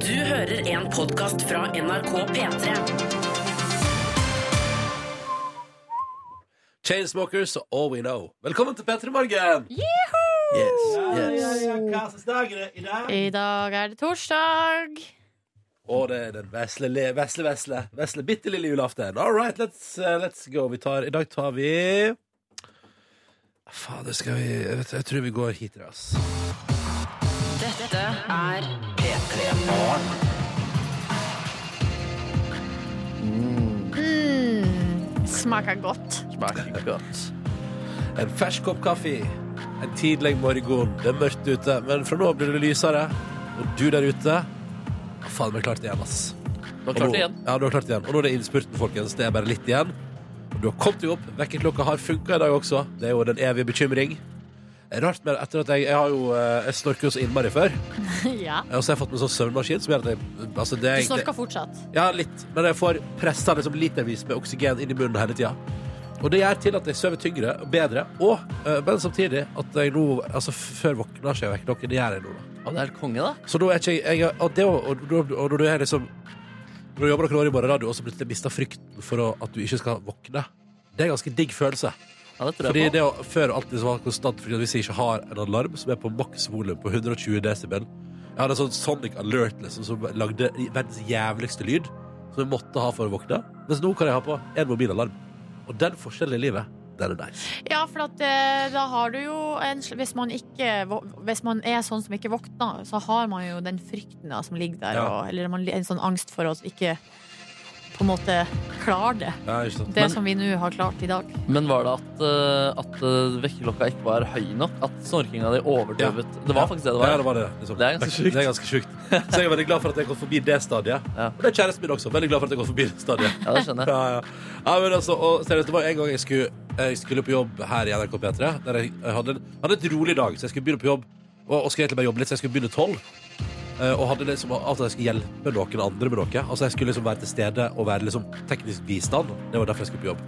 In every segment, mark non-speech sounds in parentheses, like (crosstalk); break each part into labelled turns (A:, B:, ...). A: Du hører en podkast fra NRK P3.
B: Chainsmokers og All We Know. Velkommen til P3 Morgen! Yes, yes.
C: Hva slags dag er det i dag?
D: I dag er det torsdag.
B: Og det er den vesle, le- vesle, vesle, vesle bitte lille julaften. All right, let's, eh, let's go. Vi tar, I dag tar vi Fader, skal vi jeg, vet, jeg tror vi går hit, ass.
A: Dette er P3.
D: Smaker godt.
B: Smaker godt. En fersk kopp kaffe. En tidlig morgen. Det er mørkt ute, men fra nå av blir det lysere. Og du der ute Faen, vi har klart det igjen, ass.
E: Du har klart det
B: Og
E: igjen.
B: nå- Ja, du har klart det igjen. Og nå er det innspurten, folkens. Det er bare litt igjen. Og du har kommet deg opp. Vekkerklokka har funka i dag også. Det er jo den evige bekymring. Rart med etter at jeg, jeg har jo eh, Jeg snorker jo så innmari før.
D: (laughs) ja.
B: Og så har jeg fått meg sånn søvnmaskin som gjør at jeg altså, det er
D: Du
B: egentlig-
D: snorker fortsatt.
B: Ja, litt. Men jeg får pressa liksom litervis med oksygen inn i munnen hele tida. Og det gjør til at jeg sover tyngre og bedre. Og, eh, men samtidig at jeg nå Altså, f- før våkner så er jeg vekkerklokken. Det gjør jeg nå, da.
E: Å, det er konge, da.
B: Så da er ikke jeg, jeg og, det, og, og, og, og når du er liksom Når du jobber noen år i morgen, og så plutselig mister frykten for å, at du ikke skal våkne Det er en ganske digg følelse.
E: Ja, det tror
B: Fordi
E: jeg på.
B: det å før alltid så var det konstant Fordi at hvis jeg ikke har en alarm som er på maks volum på 120 desibel Jeg hadde en sånn Sonic Alert liksom, som lagde verdens jævligste lyd, som jeg måtte ha for å våkne. Mens nå kan jeg ha på en mobilalarm. Og den forskjellen i livet, den er nice.
D: Ja, for at, eh, da har du jo en sl- hvis man, ikke, vå- hvis man er sånn som ikke våkner, så har man jo den frykten da, som ligger der.
B: Ja.
D: Og, eller man, li- en sånn angst for å ikke på en måte klare det.
B: Ja, ikke sant?
D: Det
E: Men-
D: som vi nå har klart i dag.
E: Men var det at, eh, at eh, vekkerklokka ikke var høy nok? At snorkinga di overdøvet Det var faktisk det det
B: Ja,
E: var.
B: det var det. liksom.
E: Det er ganske sjukt.
B: Det er ganske sjukt. Så jeg er veldig glad for at jeg kom forbi det stadiet.
E: Ja.
B: Og det er kjæresten min også. Veldig glad for at jeg kom forbi det stadiet.
E: Ja, det skjønner jeg.
B: Ja, ja. ja men altså, og seriøst, det var en gang jeg skulle, jeg skulle på jobb her i NRK P3. Der jeg, jeg hadde, en, hadde et rolig dag, så jeg skulle begynne på jobb. Og, og skulle egentlig bare jobbe litt, så jeg skulle begynne tolv. Eh, Og hadde liksom, altså jeg skulle hjelpe noen andre med noe. Altså Jeg skulle liksom være til stede og være liksom teknisk bistand. Det var derfor jeg skulle på jobb.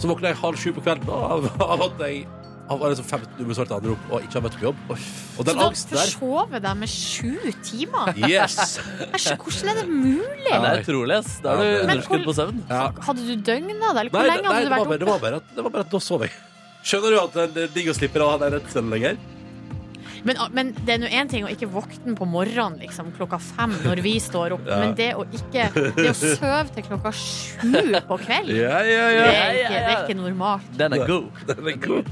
B: Så våkna jeg halv sju på kvelden av, av at jeg av liksom 15 ubesvarte anrop og ikke har møtt på jobb. Og
D: Så
B: den
D: da
B: angsten der
D: forsover de med sju timer.
B: Yes!
D: Jeg skjønner- Hvordan er det mulig?
E: Ja, det er utrolig, ass. Da
B: Ja,
E: har du
B: det er-
E: underskudd på søvn.
B: Ja.
D: Hadde du døgna det? Eller hvor
B: Nei,
D: lenge hadde
B: nei,
D: du
B: det, var
D: vært
B: bare, det,
D: oppe?
B: var bare at, det var bare at da sov jeg. Skjønner du at det er digg å slippe å ha den redselen lenger?
D: Men, ah, men det er nå én ting å ikke våkne på morgenen liksom, klokka fem når vi står opp,
B: Ja.
D: men det å ikke Det å sove til klokka sju på kveld,
B: Ja, ja,
D: det,
B: ja.
D: er
E: ja,
D: ikke, det er
E: ja.
D: ikke normalt.
E: Den er god.
B: (laughs) Den er god.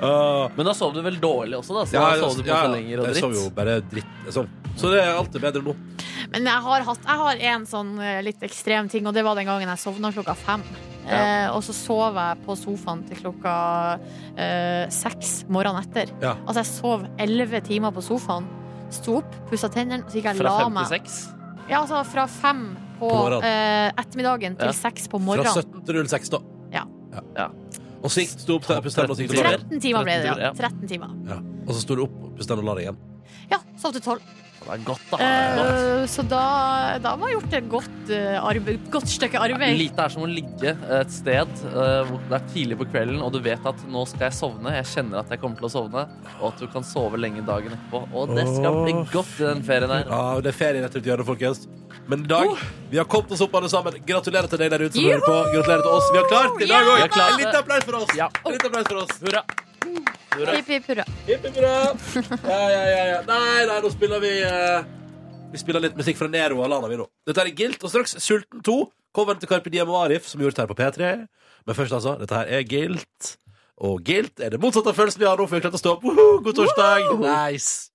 B: Ah,
E: Men da sov du vel dårlig også, da? Så
B: ja,
E: da sov du på
B: ja,
E: for lenger og
B: Jeg sov jo
E: dritt.
B: bare dritt. jeg sov. Så det er alltid bedre nå.
D: Men jeg har, hatt, jeg har en sånn eh, litt ekstrem ting, og det var den gangen jeg sovna klokka fem. Eh, og så sov jeg på sofaen til klokka eh, seks morgenen etter.
B: Ja.
D: Altså, jeg sov elleve timer på sofaen. Sto opp, pussa tennene, og så gikk jeg og
E: Fra
D: la
E: fem til
D: meg.
E: seks.
D: Ja, altså fra fem på,
B: På morgenen.
D: eh, ettermiddagen
E: Ja.
D: til seks på
B: Fra
D: morgenen.
B: 17.06, da.
D: Ja.
E: Ja.
B: Og så gikk du opp til Pustan og så gikk du og la deg.
D: 13 timer ble det,
E: 13 timer,
D: ja.
E: ja.
D: 13 timer.
B: Ja. Og så sto du opp og Pustan og la deg igjen.
D: Ja, sov til 12.
E: Det er godt, da. Det er godt.
D: Eh, så da, da var gjort et godt, eh, arbeid, godt stykke arbeid.
E: Lite er som å ligge et sted eh, hvor det er tidlig på kvelden, og du vet at nå skal jeg sovne, jeg kjenner at jeg kommer til å sovne, og at du kan sove lenge dagen etterpå. Og det skal bli
B: Åh,
E: godt i den ferien her.
B: Ja, og Det er ferie rett rundt hjørnet, folkens. Men i dag vi har kommet oss opp, alle sammen. Gratulerer til deg der ute som hører på. Gratulerer til oss. Vi har klart det i dag
D: Ja,
B: òg.
E: vi har klart
B: En
E: det.
B: liten applaus for oss.
E: Ja.
B: En liten applaus for oss.
E: Hurra! Hurra.
D: Hipp, hipp, hurra.
B: Hipp, hipp, hurra. Ja, ja, ja, ja. Nei, nei, nå spiller vi eh, Vi spiller litt musikk fra Nero og Lana, vi nå. Dette er Gilt, og straks Sulten 2. Coveren til Carpe Diem og Arif, som gjort her på P3. Men først, altså. Dette her er Gilt. Og Gilt er det motsatte av følelsen vi har nå, for vi har klart å stå opp. Woho, god torsdag! Nice.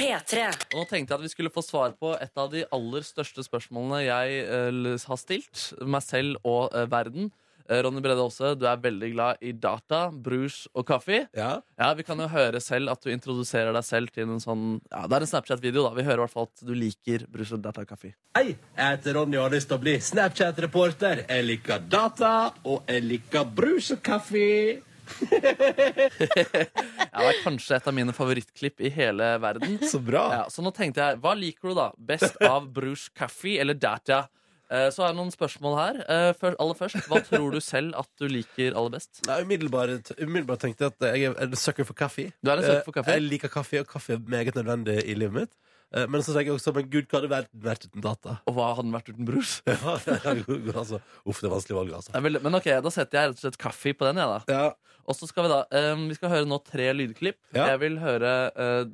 A: P3.
E: Og nå tenkte jeg at vi skulle få svar på et av de aller største spørsmålene jeg eh, l- har stilt, meg selv og eh, verden. Eh, Ronny Brede Aase, du er veldig glad i data, brus og kaffe.
B: Ja.
E: Ja, Vi kan jo høre selv at du introduserer deg selv til en sånn Ja, Det er en Snapchat-video, da. Vi hører i hvert fall at du liker brus og data og kaffe.
C: Hei, jeg heter Ronny og har lyst til å bli Snapchat-reporter. Jeg liker data, og jeg liker brus og kaffe.
E: Ja, det er kanskje et av mine favorittklipp i hele verden.
B: (laughs) Så bra.
E: Ja, så nå tenkte jeg, hva liker du da? Best av brus kaffe eller data? Eh, Så er det noen spørsmål her. Eh, før- Aller først, hva tror du selv at du liker aller best?
B: Nei, umiddelbart, umiddelbart tenkte jeg at jeg er en sucker for kaffe.
E: Du er en sucker for kaffe?
B: Eh, Jeg liker kaffe, og kaffe er meget nødvendig i livet mitt. Eh, Men så tenker jeg også men gud, hva hadde verden vært uten data? (laughs)
E: Og hva hadde den vært uten brus?
B: Ja, altså, uff, det er vanskelig valg, altså.
E: Det er veldig- Men ok, da setter jeg rett og slett kaffe på den, jeg, da.
B: Ja,
E: Og så skal vi da eh, Vi skal høre nå tre lydklipp.
B: Ja.
E: Jeg vil høre eh,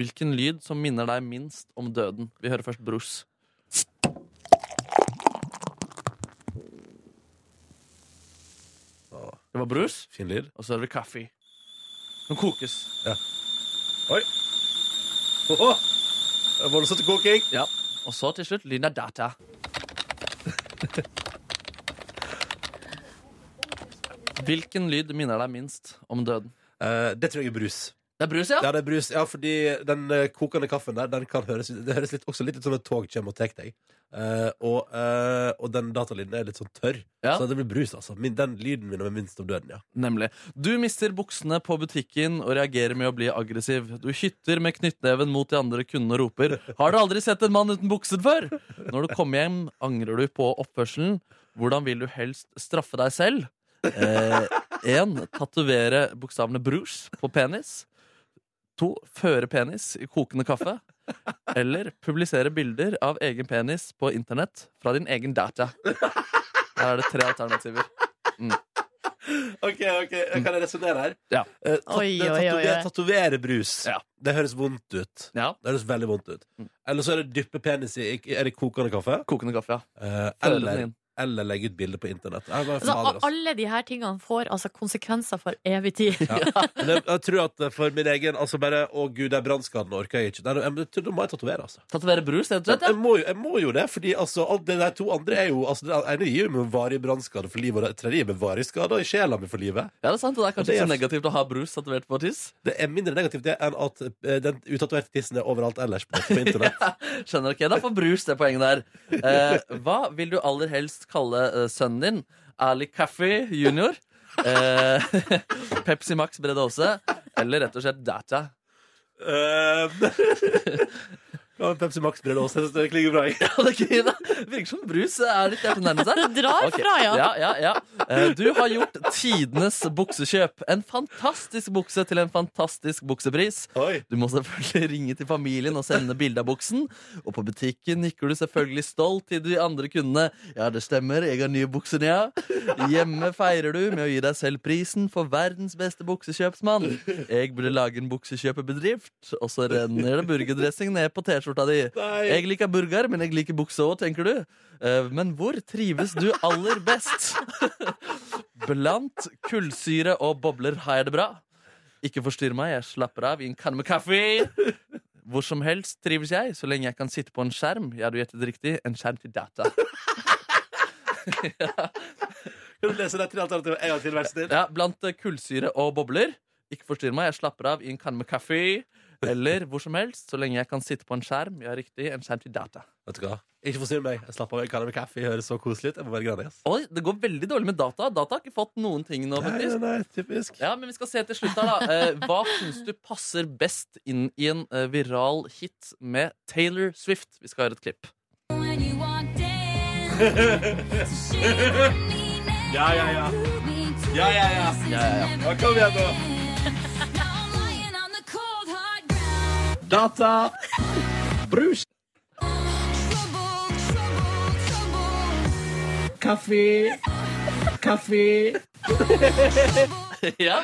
E: hvilken lyd som minner deg minst om døden. Vi hører først brus. Det var brus,
B: fin lyd.
E: og så hører vi kaffe. Den kokes.
B: Oi! Åh, åh. Det er Voldsomt koking.
E: Ja. Og så til slutt lyden av data. (laughs) Hvilken lyd minner deg minst om døden?
B: Eh, det tror jeg er brus.
E: Det er brus, ja?
B: Ja, det er brus. Ja, fordi den eh, kokende kaffen der, den kan høres, det høres litt, også litt ut som et tog kommer og tar deg. Eh, og, eh, og den datalyden er litt sånn tørr,
E: Ja.
B: så det blir brus, altså. Min, den lyden min er minst om døden, ja.
E: Nemlig. Du mister buksene på butikken og reagerer med å bli aggressiv. Du hytter med knyttneven mot de andre kundene og roper 'Har du aldri sett en mann uten bukser før?' Når du kommer hjem, angrer du på oppførselen. Hvordan vil du helst straffe deg selv? Eh, en, tatovere bokstavene 'brus' på penis. To, føre penis i kokende kaffe. Eller publisere bilder av egen penis på internett fra din egen data. Der er det tre alternativer.
B: Ok, ok, kan jeg resonnere her?
E: Ja.
B: Eh, tat-
D: Oi,
B: det er
D: oi, oi,
B: tatove-
D: oi.
B: Tatovere brus
E: Ja. Mm.
B: Det høres vondt ut
E: Ja,
B: Det høres veldig vondt ut Eller så er det dyppe penis i Er det kokende kaffe?
E: Kokende kaffe, ja.
B: Eh,
E: Føre den
B: eller,
E: inn.
B: eller legge ut bilder på internett Jeg, bare,
D: Altså,
B: fader,
D: a-
B: altså.
D: alle de her tingene får altså konsekvenser for evig tid.
B: ja. Men jeg, jeg tror at for min egen Altså bare, å gud, det er brannskaden Orker jeg ikke Nei, jeg, jeg tror da må jeg tatovere altså
E: Tatovere brus, rett og slett.
B: jeg
E: Ja.
B: må, jo, jeg må jo det, fordi altså, alt det der to andre er jo altså, Det ene gir jo meg varig brannskade for livet Og det tredje gir meg varig skade i sjela mi for livet
E: ja, det er sant. Og det er kanskje
B: Det er
E: ikke så negativt å ha brus tatovert på tiss.
B: Det er mindre negativt det enn at eh, Den utatuerte tissen er overalt ellers på, på internett
E: Skjønner ikke. Da får brus det poenget der. Eh, hva vil du aller helst kalle eh, sønnen din? Ali Kaffi junior? Eh, (laughs) Pepsi Max bredde også? Eller rett og slett Data? (laughs)
B: (laughs) Ehm. Ja, Pepsi Max-brød også, jeg synes det klinger bra. i.
E: Ja, det er gøy, da. Virker som brus er litt hjertet nærmest her.
D: Det drar
E: Ok.
D: fra, ja.
E: Ja, ja, ja. Eh, Du har gjort tidenes buksekjøp. En fantastisk bukse til en fantastisk buksepris.
B: Oi.
E: Du må selvfølgelig (laughs) ringe til familien og sende bilde av buksen. Og på butikken nikker du selvfølgelig stolt til de andre kundene. Ja, det stemmer, jeg har nye bukser, ja. Hjemme feirer du med å gi deg selv prisen for verdens beste buksekjøpsmann. Jeg burde lage en buksekjøpebedrift, og så renner det burgerdressing ned på T-skjorta di.
B: Nei.
E: Jeg liker burger, men jeg liker bukse òg, tenker du. Eh, Men hvor trives du aller best? (laughs) Blant kullsyre og bobler har jeg det bra. Ikke forstyrr meg, jeg slapper av i en kanne med kaffe. Hvor som helst trives jeg, så lenge jeg kan sitte på en skjerm. Ja, du gjettet riktig. En skjerm til data.
B: Kan du lese de tre alternativene en gang til, vær så snill?
E: Ja, Blant eh, kullsyre og bobler. Ikke forstyrr meg, jeg slapper av i en kanne med kaffe. Eller hvor som helst, så lenge jeg kan sitte på en skjerm. Ja, riktig. En skjerm til data.
B: Vet du hva? Ikke forstyrr meg. Jeg slapper av. Jeg kan ha med kaffe. Jeg høres så koselig ut. Jeg må være grønn. ass.
E: Oi, det går veldig dårlig med data. Data har ikke fått noen ting nå,
B: Nei,
E: faktisk.
B: nei, nei, typisk.
E: Ja, men vi skal se til slutt her, da. Eh, hva syns du passer best inn i en eh, viral hit med Taylor Swift? Vi skal høre et
B: (laughs)
E: klipp.
F: When you walked in, she had me naked.
C: Ja, ja, ja.
F: Threw me to
C: Ja, ja, ja.
F: pieces
E: Ja, ja, ja.
F: and
C: Ja, kom igjen, da.
F: everything. Now I'm lying on the cold, hard ground.
C: Data. Brus.
F: Trouble, trouble, trouble.
C: Kaffe. Kaffe.
E: ja.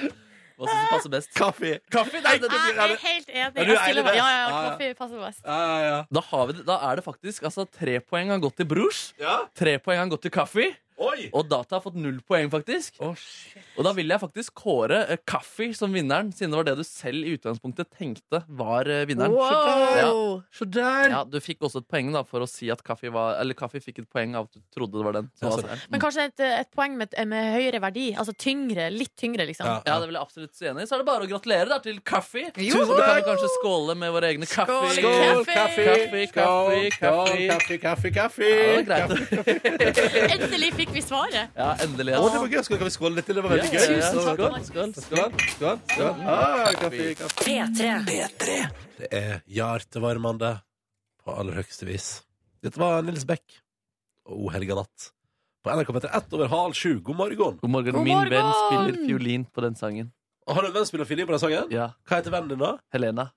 E: Hva syns du passer best?
B: Kaffe.
E: Kaffe, nei, det, det,
D: Jeg er helt enig.
B: du
D: Jeg
B: enig i
D: stiller
B: det?
D: meg. Ja, ja,
B: Ja, ja.
D: kaffe passer best.
B: Ja, ja, ja.
E: da, har vi det. da er det faktisk altså, tre poeng har gått til brors.
B: ja.
E: Tre poeng har gått til kaffe.
B: Oi!
E: Og data har fått null poeng, faktisk. Og da vil jeg faktisk kåre eh, kaffe som vinneren, siden det var det du selv i utgangspunktet tenkte var eh, vinneren. Ja.
D: Wow!
B: Så der!
E: Ja, Du fikk også et poeng da for å si at kaffe, var, eller kaffe fikk et poeng av at du trodde det var den. som
B: Ja,
E: var
B: sånn.
E: seieren.
D: Men kanskje et, et poeng med, med høyere verdi. Altså tyngre. Litt tyngre, liksom.
B: Ja.
E: Ja, det vil jeg absolutt si enig i. Så er det bare å gratulere da, til kaffe.
D: Jo!
E: Så kan vi kanskje skåle med våre egne kaffe.
D: Skål,
B: Skål,
D: Kaffe.
B: kaffe!
E: Kaffe, kaffe,
B: Skål,
E: kaffe.
B: kaffe, kaffe, kaffe!
E: Ja, det var greit.
D: Endelig fikk vi svaret!
E: Ja, endelig.
B: Å, det
E: Altså.
B: var gøy. Skal kan vi skåle litt til? Det var
E: Ja,
B: veldig
E: ja,
B: gøy.
E: ja.
B: Så-
D: Tusen takk,
E: Skål,
D: Markus.
E: skål, skål.
B: Skål, skål, skål. Ah, kaffe, kaffe.
A: P3.
B: Det er hjertevarmende på aller høyeste vis. Dette var Nils Beck O helga natt. På NRK P3 ett over halv sju. God morgen.
E: God morgen,
D: God
E: min
D: morgen!
E: venn spiller fiolin på den sangen.
B: Har du en venn som spiller fiolin på den sangen?
E: Ja,
B: Hva heter vennen din, da?
E: Helena.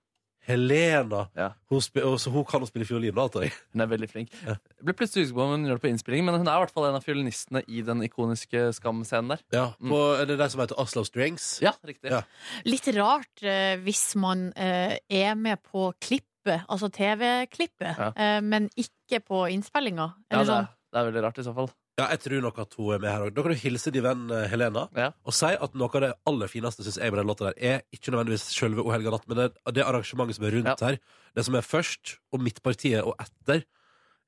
B: Helena.
E: Ja.
B: Hun, spi- og så hun kan jo spille fiolin, da, antar jeg.
E: Hun er veldig flink. Jeg ble plutselig usikker på om hun gjør det på innspillingen, men hun er i hvert fall en av fiolinistene i den ikoniske Skam-scenen der.
B: Ja, på, Er det den som heter Oslo Strings?
E: Ja, riktig.
B: Ja.
D: Litt rart eh, hvis man eh, er med på klippet, altså TV-klippet,
E: Ja.
D: eh, men ikke på innspillinga.
E: Ja,
D: Eller
E: det,
D: sånn.
E: er, det er veldig rart i så fall.
B: Ja, jeg tror nok at hun er med her òg. Da kan du hilse din venn eh, Helena
E: Ja.
B: og si at noe av det aller fineste synes jeg med den låta der, er ikke nødvendigvis selve O helga natt, men det, det arrangementet som er rundt
E: Ja.
B: her. Det som er først, og midtpartiet og etter,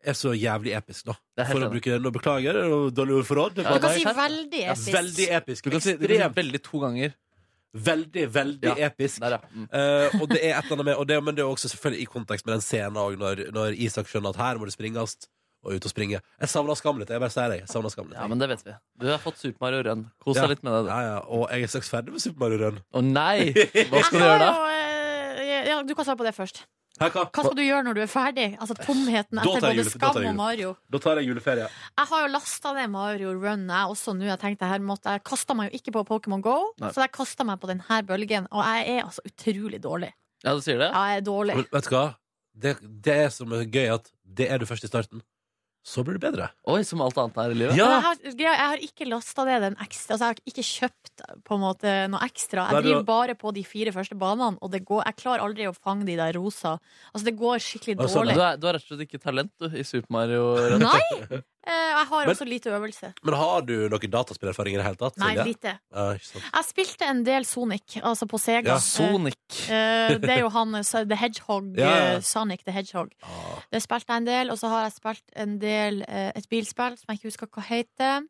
B: er så jævlig episk, da.
E: Det er helt
B: For å
E: enig.
B: bruke Nå beklager, det var dårlig ord for råd. det
E: Ja.
B: var
D: Du kan
E: nei,
D: si
E: skjerp.
D: veldig
E: Ja,
D: episk.
B: Veldig episk.
E: Du kan si, du kan si
B: Ekstremt.
E: veldig to ganger.
B: Veldig, veldig
E: Ja,
B: episk.
E: Der, ja. Mm.
B: Eh, og det er et eller annet med og det, Men det er også selvfølgelig i kontekst med den scenen også, når, når Isak skjønner at her må det springes, og ut og springe. Jeg savner skam litt. Jeg bare sier det. Jeg savner skam litt.
E: ja, men det vet vi. Du har fått Super Mario Run. Kos
B: Ja.
E: deg litt med det. du.
B: Ja, ja, og jeg er straks ferdig med Super Mario Run.
E: Å
D: (laughs)
E: nei! Hva skal du
D: Jeg har
E: gjøre da?
D: jo, eh, Ja, du kan svare på det først.
B: Hæ, hva?
D: Hva skal du gjøre når du er ferdig? Altså tomheten
B: Da tar jeg
D: etter både
B: jul- da tar jeg
D: Skam og
B: jul.
D: Mario.
B: Da tar jeg juleferie.
D: Jeg har jo lasta ned Mario Run, jeg også nå. Jeg tenkte her måtte Jeg kasta meg jo ikke på Pokémon Go,
E: Nei.
D: så jeg kasta meg på denne bølgen. Og jeg er altså utrolig dårlig.
E: Ja, du sier det?
D: Ja, jeg er dårlig.
B: Men vet du hva? Det, det som er gøy, er at det er du først i starten. Så blir du bedre.
E: Oi, som alt annet her i livet?
B: Ja.
D: Men Jeg, har, greia- jeg har ikke lasta ned den ekstra. Altså, jeg har ikke kjøpt på en måte noe ekstra.
B: Nei,
D: Jeg
B: du-
D: driver bare på de fire første banene, og det går, jeg klarer aldri å fange de der rosa. Altså, det går skikkelig
B: Og sånn,
E: Du
D: dårlig.
E: er, du er rett og slett ikke talent du, i Super Mario Run.
D: Nei! Eh, Jeg har
B: Men-
D: også lite øvelse.
B: Men har du noen dataspillerfaring i det hele tatt?
D: Nei,
B: Silje?
D: lite.
B: Ja, ikke sant.
D: Jeg spilte en del Sonic, altså på Sega.
B: Ja,
D: Eh,
E: Sonic.
D: eh, det er jo han eh, The Hedgehog.
B: Ja, ja.
D: eh, Sonic the Hedgehog.
B: Ah,
D: Det spilte jeg en del, og så har jeg spilt en del eh, et bilspill som jeg ikke husker hva heter.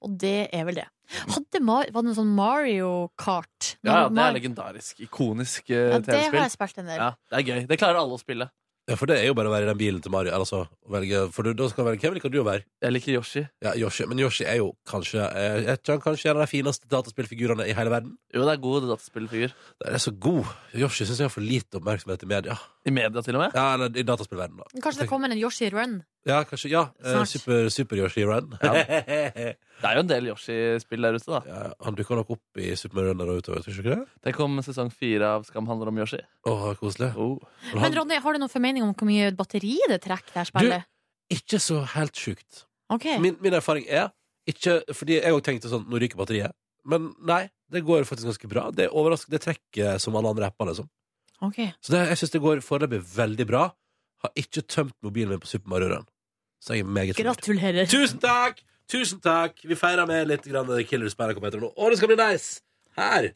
D: Og det er vel det. Hadde Mar var det noe sånn Mario Kart?
E: Ja, ja, det
D: Mar-
E: er legendarisk. Ikonisk uh,
D: Ja, det har
E: TV-spill.
D: jeg spilt en del.
E: Ja, det er gøy. Det klarer alle å spille.
B: ja, for det er jo bare å være i den bilen til Mario. Eller så, å velge, for du, da skal du velge Hvem liker du å være?
E: Jeg liker Yoshi.
B: Ja, Yoshi. Men Yoshi er jo kanskje eh, jeg tror han kanskje er en av de fineste dataspillfigurene i hele verden.
E: Jo, det er god dataspillfigur.
B: Den er så god. Yoshi syns jeg har for lite oppmerksomhet i media.
E: I media, til og med.
B: Ja, eller i dataspillverdenen, da.
D: Kanskje det kommer en Yoshi Run.
B: Ja, kanskje, ja. eh,
D: Snart.
B: Super, super Yoshi Run.
E: Det er jo en del Yoshi-spill der ute, da.
B: (laughs) ja, han dukker nok opp i Super Mario Run der og utover, tror du ikke det?
E: Det kom sesong fire av Skam handler om Yoshi.
B: Åh, koselig.
E: Oh. (laughs)
B: Men
D: Men
B: han,
D: Ronny, har du noen formening om hvor mye batteri det trekker det her spillet?
B: ikke så helt sjukt.
D: Ok,
B: Min, min erfaring er ikke, Fordi jeg òg tenkte sånn Nå ryker batteriet. Men nei, det går faktisk ganske bra. Det er overraskende. Det trekker som alle andre apper, liksom.
D: ok.
B: Så det, jeg syns det går foreløpig veldig bra. Har ikke tømt mobilen min på Super Mario Run. Så jeg er meget fornøyd.
D: Gratulerer.
B: Tusen takk! Tusen takk! Vi feirer med litt grann Killers på NRK P3 nå. Og det skal bli nice! Her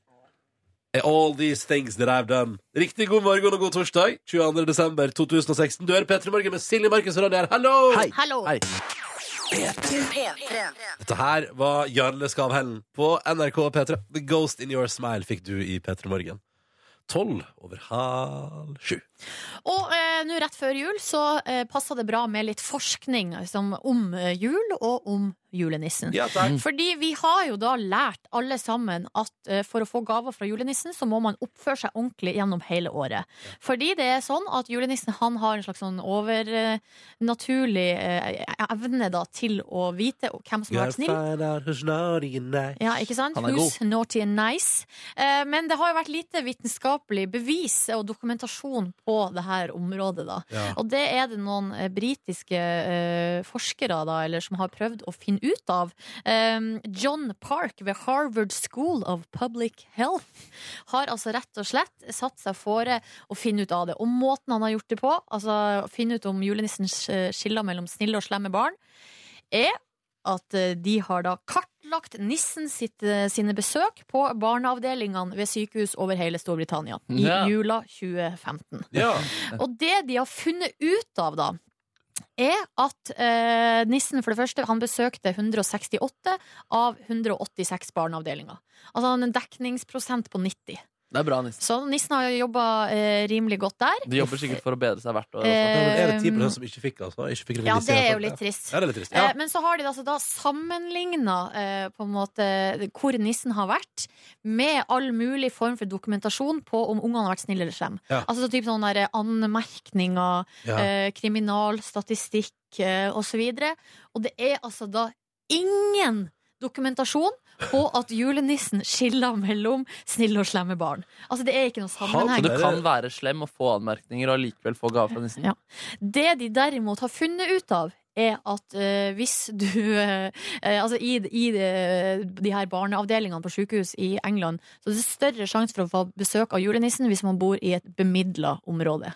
B: er All These Things That I've Done. Riktig god morgen og god torsdag. 22. desember 2016. Du hører P3 Morgen med Silje Markus og Ronny her. Hallo!
D: Hallo.
E: Hei.
B: Dette her var Jarle Skavhellen på NRK P3. The Ghost In Your Smile fikk du i P3 Morgen. Tolv over halv sju.
D: Og eh, nå rett før jul så eh, passer det bra med litt forskning som, om eh, jul og om julenissen.
B: Ja,
E: Mm.
B: takk.
D: Fordi vi har jo da lært alle sammen at eh, for å få gaver fra julenissen, så må man oppføre seg ordentlig gjennom hele året. Fordi det er sånn at julenissen han har en slags sånn overnaturlig eh, e-, evne da, til å vite hvem som har vært snill. Ja, ikke sant?
E: Han er
D: Who's naughty and nice? Eh, men det har jo vært lite vitenskapelig bevis og dokumentasjon på det her området. da.
B: Ja.
D: Og det er det noen eh, britiske eh, forskere da, eller, som har prøvd å finne ut av. Eh, John Park ved Harvard School of Public Health har altså rett og slett satt seg fore å finne ut av det. Og måten han har gjort det på, altså å finne ut om julenissen sk- eh, skiller mellom snille og slemme barn, er at eh, de har da kartlagt nissen sitt, eh, sine besøk på barneavdelingene ved sykehus over hele Storbritannia i
E: Ja.
D: jula 2015.
B: Ja.
D: Og det de har funnet ut av da er at eh, nissen for det første han besøkte 168 av 186 barneavdelinger. Altså han har en dekningsprosent på 90.
E: Det er bra, Nisse.
D: Så nissen har jobba eh, rimelig godt der.
E: De jobber sikkert for å bedre seg hvert år.
D: Eh,
E: og sånt.
B: Men er det 10 som ikke fikk, altså? Ikke fikk
D: Ja,
B: revisjon,
D: det er
B: altså?
D: jo litt trist.
B: Ja, det er litt trist.
D: Eh, Men så har de altså da sammenligna eh, på en måte hvor nissen har vært, med all mulig form for dokumentasjon på om ungene har vært snille eller slemme.
B: Ja.
D: Altså så typ sånne der anmerkninger,
B: Ja.
D: eh, kriminalstatistikk eh, osv. Og det er altså da ingen dokumentasjon på at julenissen skiller mellom snille og slemme barn. Altså Det er ikke noe
E: Så
D: sammenheng.
E: du kan være slem og få anmerkninger og allikevel få gave fra nissen?
D: Ja. Det de derimot har funnet ut av, er at eh, hvis du eh, eh, Altså i, i eh, de her barneavdelingene på sykehus i England, så er det større sjanse for å få besøk av julenissen hvis man bor i et bemidla område.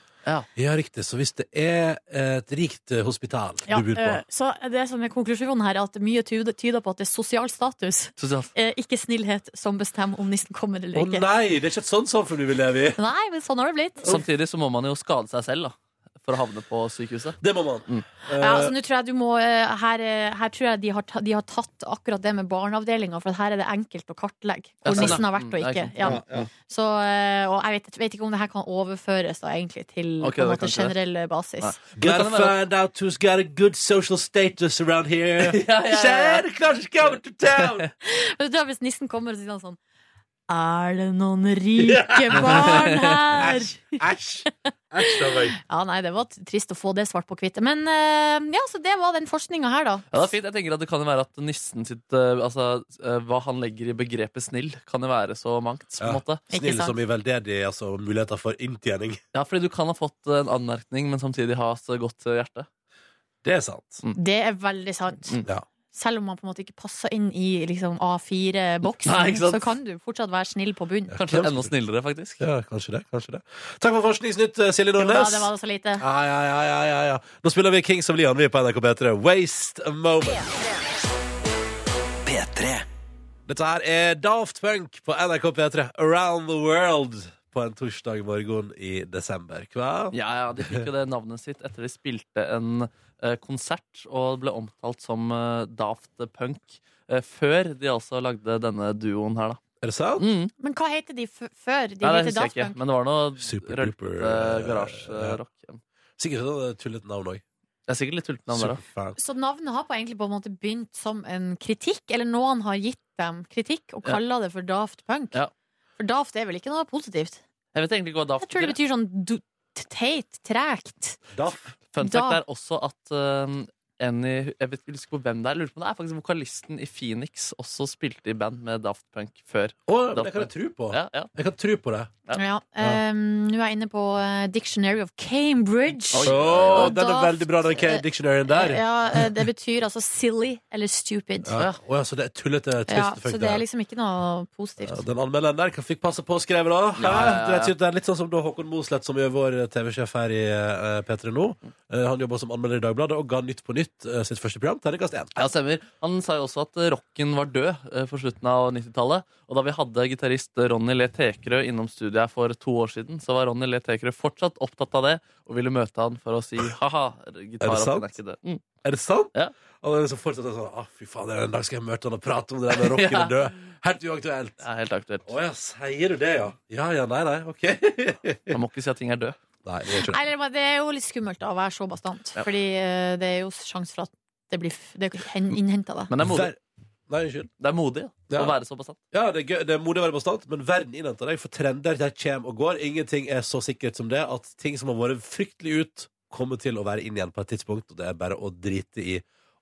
B: Ja, riktig. Så hvis det er et rikt eh, hospital
D: Ja,
B: du bor på
D: eh, så det som er konklusjonen her, er at mye tyder, tyder på at det er sosial status,
E: Sosialt.
D: eh, ikke snillhet, som bestemmer om nissen
B: Å
D: kommer eller ikke.
B: nei, det er ikke et sånt samfunn vi vil leve i!
D: Nei, men sånn har det blitt.
E: Samtidig så må man jo skade seg selv da, for å havne på sykehuset.
B: Det må man. Eh,
D: Ja, altså, nå tror jeg du må, eh, her, eh, her tror jeg de har, ta- de har tatt akkurat det med barneavdelinga, for at her er det enkelt å kartlegge
E: Ja,
D: hvor
E: sånn, ja.
D: nissen har vært og
E: Mm,
D: ikke.
E: det er
D: Ja.
E: sant. Ja, ja.
D: Så, eh, og jeg vet, jeg vet ikke om det her kan overføres da, egentlig, til
E: Ok,
D: på en
E: det
D: måte,
E: kan ikke det.
D: generell eh, basis.
E: Nei.
B: Eh, Gotta
E: Men det kan være-
B: find out who's got a good social status around here.
E: (laughs)
B: (laughs)
E: Ja, ja, ja.
B: Santa Claus is coming to town!
D: (laughs) Men du tror Hvis nissen kommer og sier sånn Er det noen rike
E: (laughs)
D: barn her?
C: Æsj! Æsj, da var jeg
D: Ja, nei, det var t- trist å få det svart på hvitt. Men eh, ja, så det var den forskninga her, da.
E: Ja, det er fint. Jeg tenker at det kan jo være at nissen sitt eh, Altså, eh, hva han legger i begrepet snill, kan jo være så mangt, på en
B: Ja.
E: måte.
D: Ikke
B: Snill
D: sant?
B: som i veldedig, altså muligheter for inntjening.
E: Ja, fordi du kan ha fått en anmerkning, men samtidig ha et godt hjerte.
B: Det er sant.
D: Det er veldig sant.
E: Mm.
B: Ja.
D: Selv om man på en måte ikke passer inn i liksom,
E: (laughs) Nei,
D: A4-boksen,
E: ikke sant?
D: så kan du fortsatt være snill på bunnen.
E: Kanskje enda snillere, faktisk.
B: Ja, kanskje det. kanskje det Takk for Forskningsnytt, eh, Silje
D: Jo da,
B: Nordnes.
D: det var så lite.
B: Ja, ja, ja, ja, ja, ja. Nå spiller vi Kings of Leon vi på NRK P3. Waste a moment.
G: P3
B: Dette her er Daft Punk på NRK P3 Around the World på en torsdag morgen i desember. Hva?
E: Ja, ja, De fikk jo det navnet sitt etter de spilte en eh, konsert og ble omtalt som eh, Daft Punk. eh, før de altså lagde denne duoen her, da.
B: Er det sant?
E: Mm.
D: Men hva heter Oh, de f før? De
E: Nei, det
D: heter
E: husker jeg
D: Daft
E: ikke,
D: Punk.
E: men det var noe
B: Super
E: rølte
B: duper, eh,
E: garasjerock.
B: Sikkert et eh, tullet navn òg.
E: Det er sikkert litt tulpenavn der, da.
B: Superfan.
D: Så navnet har på egentlig på en måte begynt som en kritikk, eller noen har gitt dem kritikk og kalla det for Daft Punk.
E: Ja.
D: For Daft er vel ikke noe positivt?
E: Jeg vet egentlig ikke hva Daft
D: Jeg tror det
E: betyr.
D: betyr sånn du t- teit, tregt.
B: Daff.
E: Fun
D: Da-
E: fact er også at eh, en i, jeg vet jeg husker på hvem det er, jeg lurer på om det er faktisk vokalisten i Phoenix også spilte i band med Daft Punk før.
B: Å, men
E: Daft
B: jeg kan
E: Punk.
B: tro på.
E: Ja, ja.
B: Jeg kan tro på det.
E: Ja.
D: Ja. ehm, nå er jeg inne på eh, Dictionary of Cambridge.
E: Oi.
B: Å,
D: Og
B: den er
D: Daft,
B: veldig bra, den
D: eh,
B: K-dictionaryen der.
D: Ja, eh, det betyr altså silly eller stupid.
B: Ja. Å, ja, så det er tullete, trist
D: Ja,
B: fuck
D: så det
B: der.
D: er liksom ikke noe positivt.
B: Ja, den anmelderen der kan fikk passe på å skrive da. Hæ?
E: Ja, ja, ja.
B: Dreit seg ut der. Litt sånn som da Håkon Mosleth, som er vår TV-sjef her i eh, P3 nå. Eh, han jobber som anmelder i Dagbladet og ga Nytt på Nytt eh, sitt første program. Terningkast én.
E: Ja, stemmer. Han sa jo også at eh, rocken var død eh, på slutten av 90-tallet. Og da vi hadde gitarist Ronny Le Tekerø innom studiet her for to år siden, så var Ronny Le Tekerø fortsatt opptatt av det og ville møte han for å si ha-ha, gitarrocken er
B: sant?
E: ikke død. Mm.
B: Er det sant?
E: Ja.
B: Og det er så fortsatt sånn ah, Fy fader, en dag skal jeg møte han og prate om det
E: (laughs)
B: der med rocken
E: Ja.
B: er død. Helt uaktuelt.
E: Det er helt aktuelt.
B: Å ja, sier du det, ja? Ja ja, nei nei, OK. (laughs) nei,
E: Man må ikke si at ting er død.
B: det er ikke det.
D: Nei, eller, det er jo litt skummelt da, å være så bastant.
E: Ja.
D: Fordi eh, det er jo sjanse for at det blir f- det er innhenta, da.
E: Men det er modig.
B: Ver- Nei, unnskyld.
E: Det er modig da,
B: Ja.
E: å være så bastant.
B: Ja, det er, gøy, det er modig å være bastant, men verden innhenter deg, for trender der kommer og går. Ingenting er så sikkert som det at ting som har vært fryktelig ut, kommer til å være inn igjen på et tidspunkt, og det er bare å drite i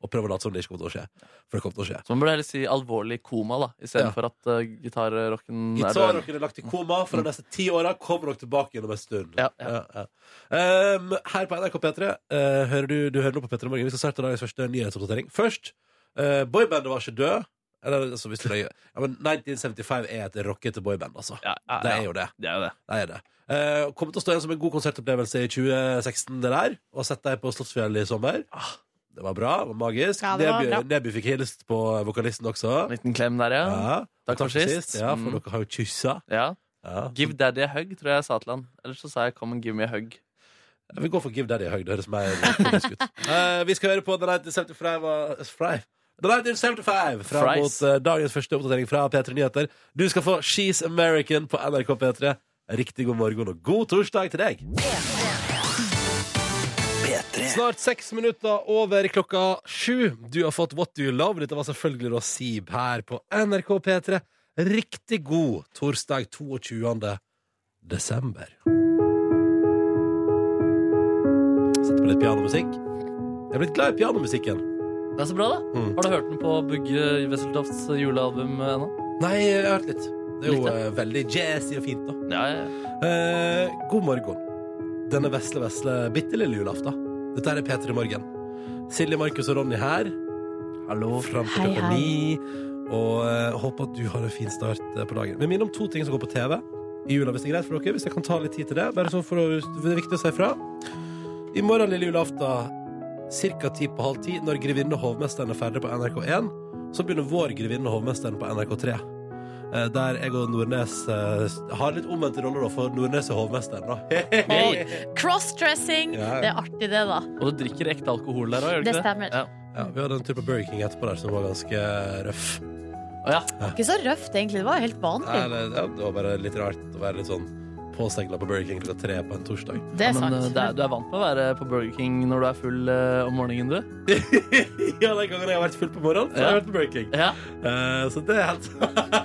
B: og prøve å late som det ikke kommer til å skje. For det kommer til å skje.
E: Så man burde heller si alvorlig koma, da,
B: Ja.
E: istedenfor at uh, gitarrocken er død.
B: Gitarrocken er lagt i koma for de neste ti åra. Kommer dere tilbake igjen om en stund.
E: Ja, ja.
B: Ja, ja. Um, her på NRK P3 eh, hører du, du hører nå på P3 Morgen. Vi skal starte dagens første nyhetsoppdatering. Først, eh, boybandet var ikke død. Eller, altså, hvis du legger, ja, men 1975 er et rockete boyband, altså.
E: Ja, ja,
B: Det
E: ja.
B: er jo det.
E: Det er jo det.
B: Det er det. Eh, kommer til å stå igjen som en god konsertopplevelse i 2016, det der. Og har sett deg på Slottsfjell i sommer.
E: Ah.
B: Det var bra. det var Magisk.
D: Ja, det var
B: Neby,
D: bra.
B: Neby fikk hilst på vokalisten også.
E: En liten klem der, ja.
B: Ja.
E: Takk for sist.
B: Ja, for
E: Mm.
B: dere har jo kyssa.
E: ja.
B: Ja.
E: Give daddy a hug, tror jeg jeg sa til han. Eller så sa jeg come and give me a hug.
B: Vi går for Give Daddy i høyde. Det høres mer komisk ut. Eh, vi skal høre på The Night Deceptive Fry. The Night is 75 fram
E: Fries.
B: mot eh, dagens første oppdatering fra P3 Nyheter. Du skal få She's American på NRK P3. Riktig god morgen og god torsdag til deg. Snart seks minutter over klokka sju. Du har fått What Do You Love. Dette var selvfølgelig da Sib her på NRK P3. Riktig god torsdag 22. desember. Setter på litt pianomusikk. Jeg er blitt glad i pianomusikken.
E: Det er så bra, da.
B: Mm.
E: Har du hørt den på Bugge Wesseltofts julealbum eh, ennå?
B: Nei, jeg har hørt litt. Det er jo
E: Litt, ja.
B: eh, veldig jazzy og fint, da.
E: Ja, ja.
B: Eh, god morgen. Denne vesle, vesle bitte lille julaften. Dette her er P3 Morgen. Silje, Markus og Ronny her. Hallo. Fram til
D: Hei,
B: klokka
D: hei.
B: ni. Og eh, håper at du har en fin start eh, på dagen. Men minn om to ting som går på TV i jula, hvis det er greit for dere. Hvis jeg kan ta litt tid til det. Bare sånn for å, Det er viktig å si fra. I morgen lille julaften Cirka ti på halv ti, når Grevinne og hovmesteren er ferdig på NRK1, så begynner vår Grevinne og hovmesteren på NRK3. Eh, Der jeg og Nordnes eh, har litt omvendte roller, da, for Nordnes er hovmesteren, da.
D: Oi. Crossdressing!
B: Ja, ja.
D: Det er artig, det, da.
E: Og du drikker ekte alkohol der òg, gjør du
D: Det
E: ikke
D: stemmer.
E: Ja.
B: Ja, vi hadde en tur på Burger King etterpå der som var ganske eh, røff.
E: Å, ja.
D: Ikke så røft, egentlig. Det var helt
B: Nei,
D: vanlig.
B: det, ja, det var bare litt rart å være litt sånn påsegla på Burger King klokka tre på en torsdag.
D: Det
E: Ja,
D: er
E: men, eh,
D: sant.
E: det er, du er vant med å være på Burger King når du er full eh, om morgenen, du?
B: (laughs) ja, den gangen jeg har vært full på morgenen, så har jeg vært på Burger King.
E: Ja.
B: Eh, så det er helt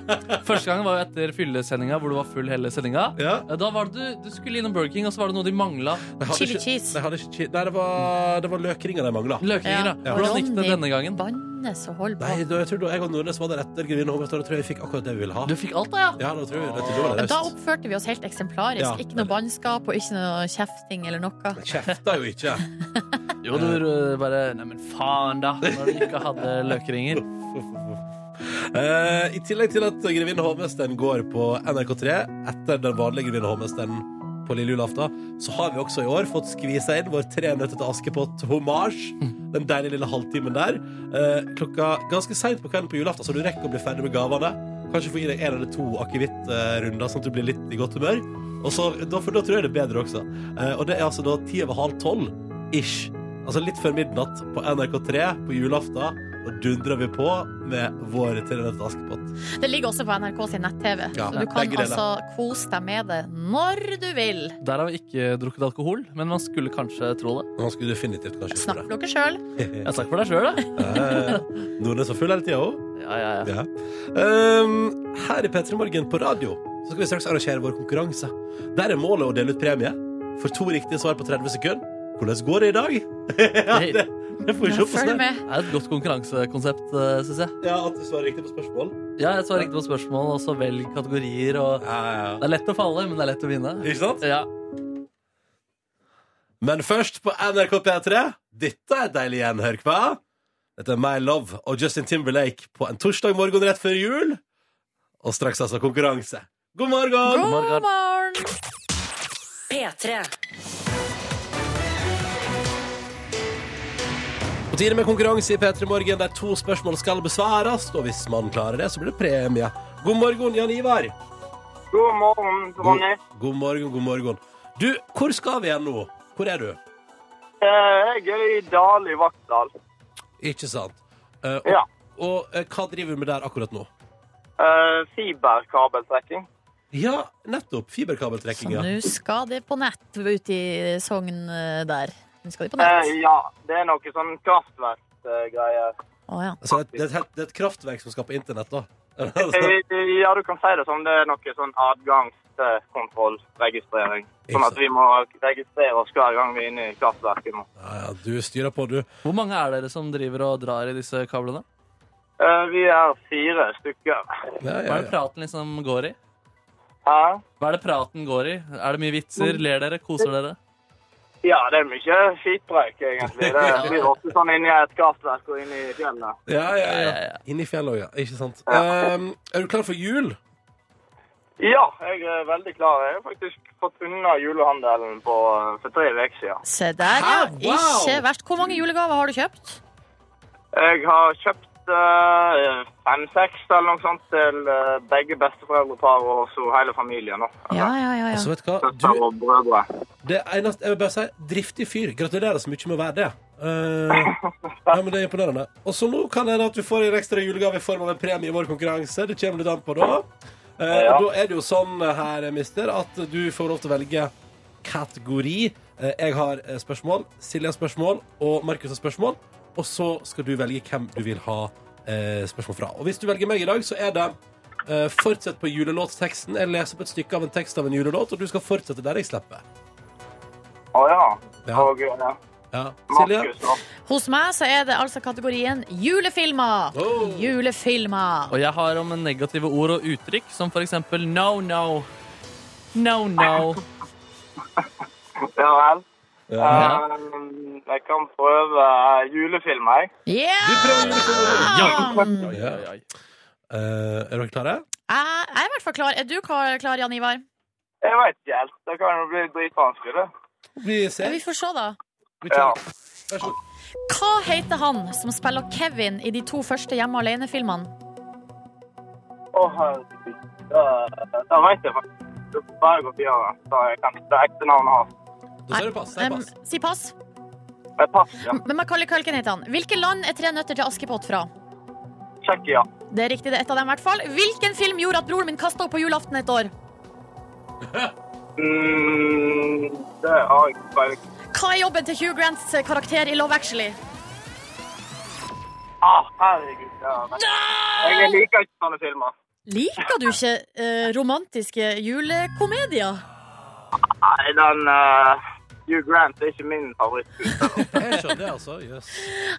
E: (laughs)
B: (laughs)
E: Første gangen var jo etter fyllesendinga, hvor du var full hele sendinga.
B: Ja.
E: Eh, Da var det du, du skulle innom Burger King, og så var det noe de mangla.
B: Jeg hadde
D: Chili
B: ikke-
D: cheese.
B: Nei, jeg hadde ikke chi- Nei, det var, det var løkringer de mangla.
E: Løkringer, ja. Hvordan gikk det
D: Ronny
E: denne gangen?
D: Bannes og holdt på.
B: Nei, da, jeg tror da jeg og Nordnes var der etter Grevinne og Hovmesteren, og tror jeg vi fikk akkurat det vi ville ha.
E: Du fikk alt, da, ja?
B: Ja, da tror jeg, jeg tror det var
D: Men Da
B: raust.
D: oppførte vi oss helt eksemplarisk.
B: Ja.
D: Ikke noe bannskap og ikke noe kjefting eller noe.
B: Kjefta jo ikke.
E: Jo, du eh, bare Neimen, faen, da! Når du ikke hadde løkringer. (laughs)
B: Eh, I tillegg til at Grevinne og Hovmesteren går på NRK3 etter den vanlige Grevinne og Hovmesteren på lille julaften, så har vi også i år fått skvisa inn vår Tre nøtter til Askepott-hommage. Den deilige lille halvtimen der. Eh, klokka ganske seint på kvelden på julaften, så du rekker å bli ferdig med gavene. Kanskje få i deg en eller to akevittrunder, sånn at du blir litt i godt humør. Og så, da, for da tror jeg det er bedre også. Eh, og det er altså da ti over halv tolv ish. Altså litt før midnatt på NRK3 på julaften. Og dundrer vi på med vår Tre nøtter til Askepott.
D: Det ligger også på NRK sin nett-TV,
B: Ja,
D: så du kan
B: begge deler.
D: altså kose deg med det når du vil.
E: Der har vi ikke drukket alkohol, men man skulle kanskje tro det.
B: Han skulle definitivt kanskje gjort
D: Snakk for dere sjøl.
B: (laughs) det.
E: Jeg snakker for deg sjøl, da.
B: Eh, Noen er så full hele tida òg.
E: Ja, ja, ja.
B: Ja. Ehm, her i P3 Morgen på radio Så skal vi straks arrangere vår konkurranse. Der er målet å dele ut premie for to riktige svar på 30 sekunder. Hvordan går det i dag? (laughs) ja, det, det får vi se på
D: Følg
B: snart.
D: med.
E: Det er et godt konkurransekonsept, syns jeg.
B: Ja, at du svarer riktig på spørsmål.
E: Ja, jeg svarer riktig på spørsmål, og så velg kategorier. Og
B: Ja, ja, ja.
E: det er lett å falle, men det er lett å vinne.
B: Ikke sant?
E: Ja.
B: Men først på NRK P3. Dette er deilig gjenhør, hva? Dette er My Love og Justin Timberlake på en torsdag morgen rett før jul. Og straks altså konkurranse. God morgen!
D: God
E: Margaret.
D: morgen!
A: P3.
B: På tide med konkurranse i P3 Morgen der to spørsmål skal besvares. Og hvis man klarer det, så blir det premie. God morgen, Jan Ivar.
G: God morgen, Ronny.
B: god morgen, god morgen. Du, hvor skal vi igjen nå? Hvor er du?
G: Eh, Jeg er i Dal i Vaksdal.
B: Ikke sant? Eh, og
G: Ja.
B: og eh, hva driver vi med der akkurat nå?
G: Eh, Fiberkabeltrekking.
B: Ja, nettopp.
D: Så
B: Fiberkabeltrekking, ja.
D: nå skal det på nett ute i Sogn eh, der. Nå skal de på
G: Eh,
D: nett.
G: Ja, det er noe sånn kraftverksgreier.
D: Å ja.
B: Så det, det, er et, helt- det er et kraftverk som skal på internett, (laughs) da.
G: Eh, Ja, du kan si det som det er noe sånn adgangskontrollregistrering. Sånn at vi må registrere oss hver gang vi er inne i kraftverket nå.
B: ja, ja, du styrer på, du.
E: Hvor mange er dere som driver og drar i disse kablene?
G: Eh, Vi er fire stykker.
B: Ja, ja,
E: Hva er det
B: ja.
E: praten liksom går i?
G: Hæ?
E: Hva er det praten går i? Er det mye vitser? Ler dere? Koser dere?
G: Ja, det er mye skitpreik, egentlig. Det blir ofte sånn inni et kraftverk og inni fjellet.
B: ja, ja, ja.
E: Ja, ja, ja.
B: Inni fjellet òg, ja. Ikke sant. Eh, er du klar for jul?
G: Ja, jeg er veldig klar. Jeg har faktisk fått unna julehandelen på, eh, for tre uker siden.
D: Se der, ja.
B: Hæ? Wow!
D: Ikke verst. Hvor mange julegaver har du kjøpt?
G: Jeg har kjøpt eh, fem-seks eller noe sånt til eh, begge besteforeldrepar og så hele familien. Da.
D: Ja, ja, ja.
B: Altså,
D: ja.
B: vet du hva? Du,
G: Søster og brødre.
B: Det eneste, jeg vil bare si, driftig fyr. Gratulerer så mye med å være det. Eh, ja, men det er imponerende. Og så nå kan det hende at du får en ekstra julegave i form av en premie i vår konkurranse. Det kommer litt an på da. Eh,
G: Ja.
B: og Da er det jo sånn her, mister, at du får lov til å velge kategori. Eh, jeg har eh, spørsmål, Silje har spørsmål, og Markus har spørsmål. Og så skal du velge hvem du vil ha eh, spørsmål fra. Og hvis du velger meg i dag, så er det eh, fortsett på julelåtsteksten. Jeg leser opp et stykke av en tekst av en julelåt, og du skal fortsette der jeg slipper.
G: Å ja.
B: Ja.
G: Og eh,
B: Ja. Silje?
G: Markus, da.
D: Hos meg så er det altså kategorien julefilmer.
B: Oh.
D: Julefilmer.
E: Og jeg har om negative ord og uttrykk, som for eksempel no, no. No, no.
G: Ja vel.
E: Ja.
G: Eh, jeg kan prøve eh, julefilm, jeg.
D: Yeah!
E: Oi, oi,
B: Ja.
E: oi, oi.
B: Eh, er dere klare?
D: Jeg jeg er i hvert fall klar. Er du klar, klar Jan Ivar?
G: Jeg veit ikke helt. Det kan jo bli dritvanskelig, det.
B: Vi
D: Ja,
B: ser.
D: vi får se, da.
B: Vi kjører.
G: Ja.
B: Vær så god.
D: Hva heter han som spiller Kevin i de to første Hjemme alene-filmene?
G: Å, herregud. Eh, Da veit jeg faktisk. Du får bare gå videre. Da jeg kan det ekte navnet hans.
B: Da sier du pass. Sier
D: Em,
B: pass.
D: si pass.
G: Eh, Pass, ja.
D: Men Macaulay Culkin heter han. Hvilke land er Tre nøtter til Askepott fra?
G: Sjekk, ja.
D: Det er riktig, det er ett av dem i hvert fall. Hvilken film gjorde at broren min kasta opp på julaften et år?
G: Mm, det har jeg bare
D: Hva er jobben til Hugh Grants eh, karakter i Love Actually?
G: ah, Herregud. Ja. Jeg liker ikke sånne filmer.
D: Liker du ikke eh, romantiske julekomedier?
G: Nei, den eh, Hugh Grant er ikke min favorittskuespiller.
B: Jeg skjønner det, altså. Jøss.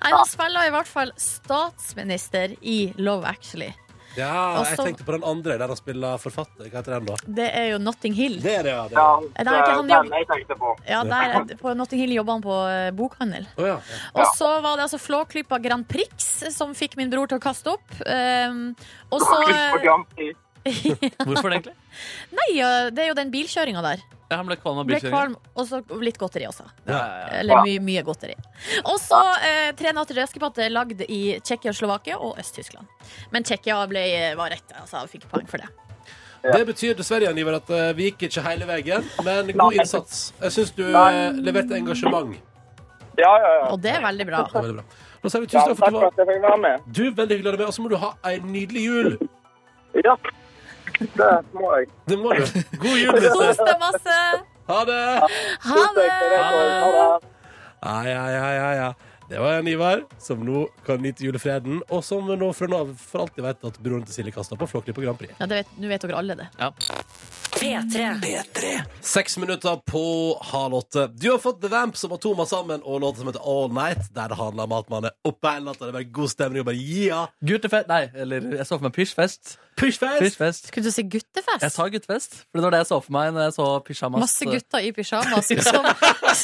D: Nei, han spiller i hvert fall statsminister i Love Actually.
B: Ja, jeg
D: Også-
B: tenkte på den andre der han spiller forfatter. Hva heter den, da?
D: Det er jo Notting Hill.
B: Det er det, ja. Det
G: Ja,
B: er. det.
D: det er ikke han
G: den eh, jeg tenkte på.
D: Ja, der, er- på Notting Hill jobber han på eh, bokhandel.
B: Å, ja. ja.
D: Og så var det altså Flåklypa Grand Prix som fikk min bror til å kaste opp. Um, og så
G: På Grand Prix.
E: Hvorfor det, egentlig?
D: Nei, eh, det er jo den bilkjøringa der.
E: Ja, han ble kvalm av
D: Ble
E: bilkjøringen.
D: kvalm, og så litt godteri også.
E: Ja, ja, ja.
D: Eller mye, mye godteri. Og så eh, Tre natter til Askepott er lagd i Tsjekkia, Slovakia og Øst-Tyskland. Men Tsjekkia ble, var rett, altså. jeg Fikk poeng for det.
B: det betyr dessverre Jan Ivar, at eh, vi gikk ikke hele veien, men god
G: Nei.
B: innsats. Jeg syns du
G: Nei.
B: eh, leverte engasjement.
G: Ja, ja, ja.
D: Og det er veldig bra.
B: Det var veldig bra. Da sier vi
G: ja
B: tusen takk for at du
G: takk for
B: var
G: at jeg fikk være med.
B: Du, Veldig hyggelig å ha deg med, og så må du ha ei nydelig jul.
G: Ja, det må jeg.
D: eh,
B: Det må du. God
G: (laughs)
B: jul, Mr.
D: Kos deg masse!
B: Ha det!
D: Ha det!
B: Ja, ja, ja, ja, ja. Det var Jan Ivar, som nå kan nyte julefreden, og som nå fra nå av for alltid vet at broren til Silje kasta på Flåklypa Grand Prix.
D: Ja, det vet- Nå vet dere alle det.
E: Ja.
A: P3.
B: Seks minutter på halv åtte. Du har fått The Vamp som har Thomas sammen, og låta som heter All Night, der det handler om at man er oppe hele natta, det er bare god stemning og bare ja!
E: Guttefest Nei, eller jeg så for meg pysjfest.
B: Pushfest!
E: Pysjfest.
D: Skulle du si guttefest?
E: Jeg sa guttefest, for det var det jeg så for meg når jeg så pysjamas.
D: Masse gutter i pysjamas som,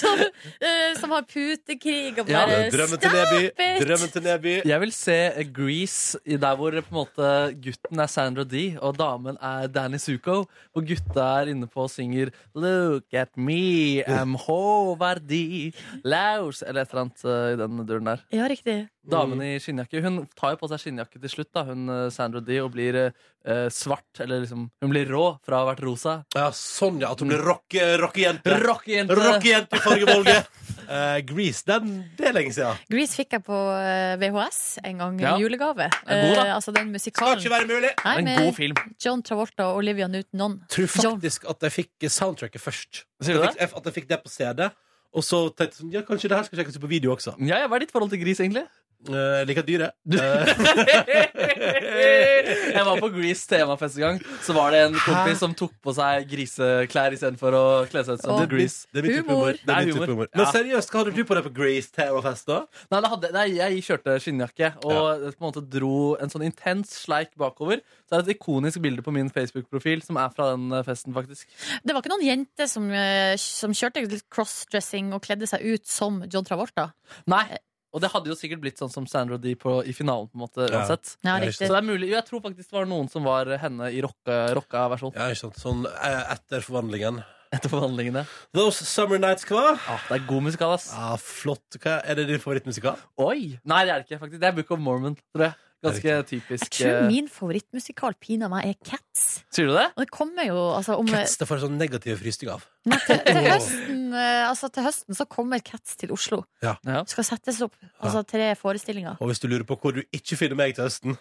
D: som, eh, som har putekrig og
E: Ja,
D: bare
B: Drømmen til
D: Stop
B: Neby.
D: it!
B: Drømmen til Neby.
E: Jeg vil se Grease i der hvor på en måte gutten er Sandra D og damen er Danny Zuko. Og gutta er inne på og synger 'Look at me, I'm Håvardi Laus' eller et eller annet eh, i den duren der.
D: Ja, riktig.
E: Damen i skinnjakke Hun tar jo på seg skinnjakke til slutt, da hun eh, Sandra D, og blir eh, eh, svart. Eller liksom Hun blir rå fra å ha vært rosa.
B: Ja, sånn, ja. At hun blir rocke, rockejente.
E: Rockejente!
B: Rockejente i fargevalget. Uh, Grease, den, det er lenge siden.
D: Grease fikk jeg på eh, VHS en gang i
E: Ja.
D: julegave.
E: Er god, da.
D: Eh, altså den
B: Skal ikke
D: musikalen.
B: være mulig.
D: Nei,
E: En god
D: med
E: film.
D: John Travolta og Olivia Newton-John.
B: Tror faktisk at jeg fikk soundtracket først.
E: Sier du
B: Jeg fikk- At jeg fikk det på CD. Og så tenkte jeg sånn, ja, kanskje det her skal sjekkes ut på video også.
E: Ja, ja, Hva er ditt forhold til gris, egentlig?
B: Eh, Jeg liker dyret.
E: Eh. jeg var på Grease temafest en gang. Så var det en kompis som tok på seg griseklær istedenfor å kle seg ut som
D: Åh.
E: Grease.
B: Det er min type humor.
D: Humor.
B: Det
E: Det
B: er
E: er
B: min type
E: humor.
B: humor.
E: Ja.
B: Men seriøst, hva hadde du på deg på Grace Terrorfest, da?
E: Nei, det hadde, nei, jeg kjørte skinnjakke og på en måte dro en sånn intens sleik bakover. Så er det et ikonisk bilde på min Facebook-profil som er fra den eh, festen, faktisk.
D: Det var ikke noen jente som, eh, som kjørte litt crossdressing og kledde seg ut som John Travolta.
E: Nei, Og det hadde jo sikkert blitt sånn som Sandra D på, i finalen, på en måte,
B: Ja.
E: uansett.
D: Ja,
B: Ja,
D: riktig.
E: Så det er mulig, jo, jeg tror faktisk det var noen som var henne i rocka, rocka versjon.
B: Ja, ikke sant. Sånn eh, etter forvandlingen.
E: Etter forhandlingene.
B: Those Summer Nights, hva?
E: Ah, det er god musikal, ass.
B: Ah, flott. Hva er det din favorittmusikal?
E: Oi! Nei, det er det ikke, faktisk. Det er Book of Mormon, tror jeg. Ganske
D: Jeg
E: typisk.
D: tror
E: eh,
D: min favorittmusikal pinadø meg er Cats.
E: Sier du det?
D: Og det kommer jo altså, om,
B: Cats, det får jeg sånn negativ frysting av.
D: Nei, til, til, høsten, eh, altså, til høsten så kommer Cats til Oslo.
B: Ja.
E: Ja.
D: Skal settes opp altså, tre forestillinger.
B: Og hvis du lurer på hvor du ikke finner meg til høsten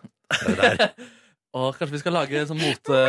E: Og kanskje vi skal lage sånn mote...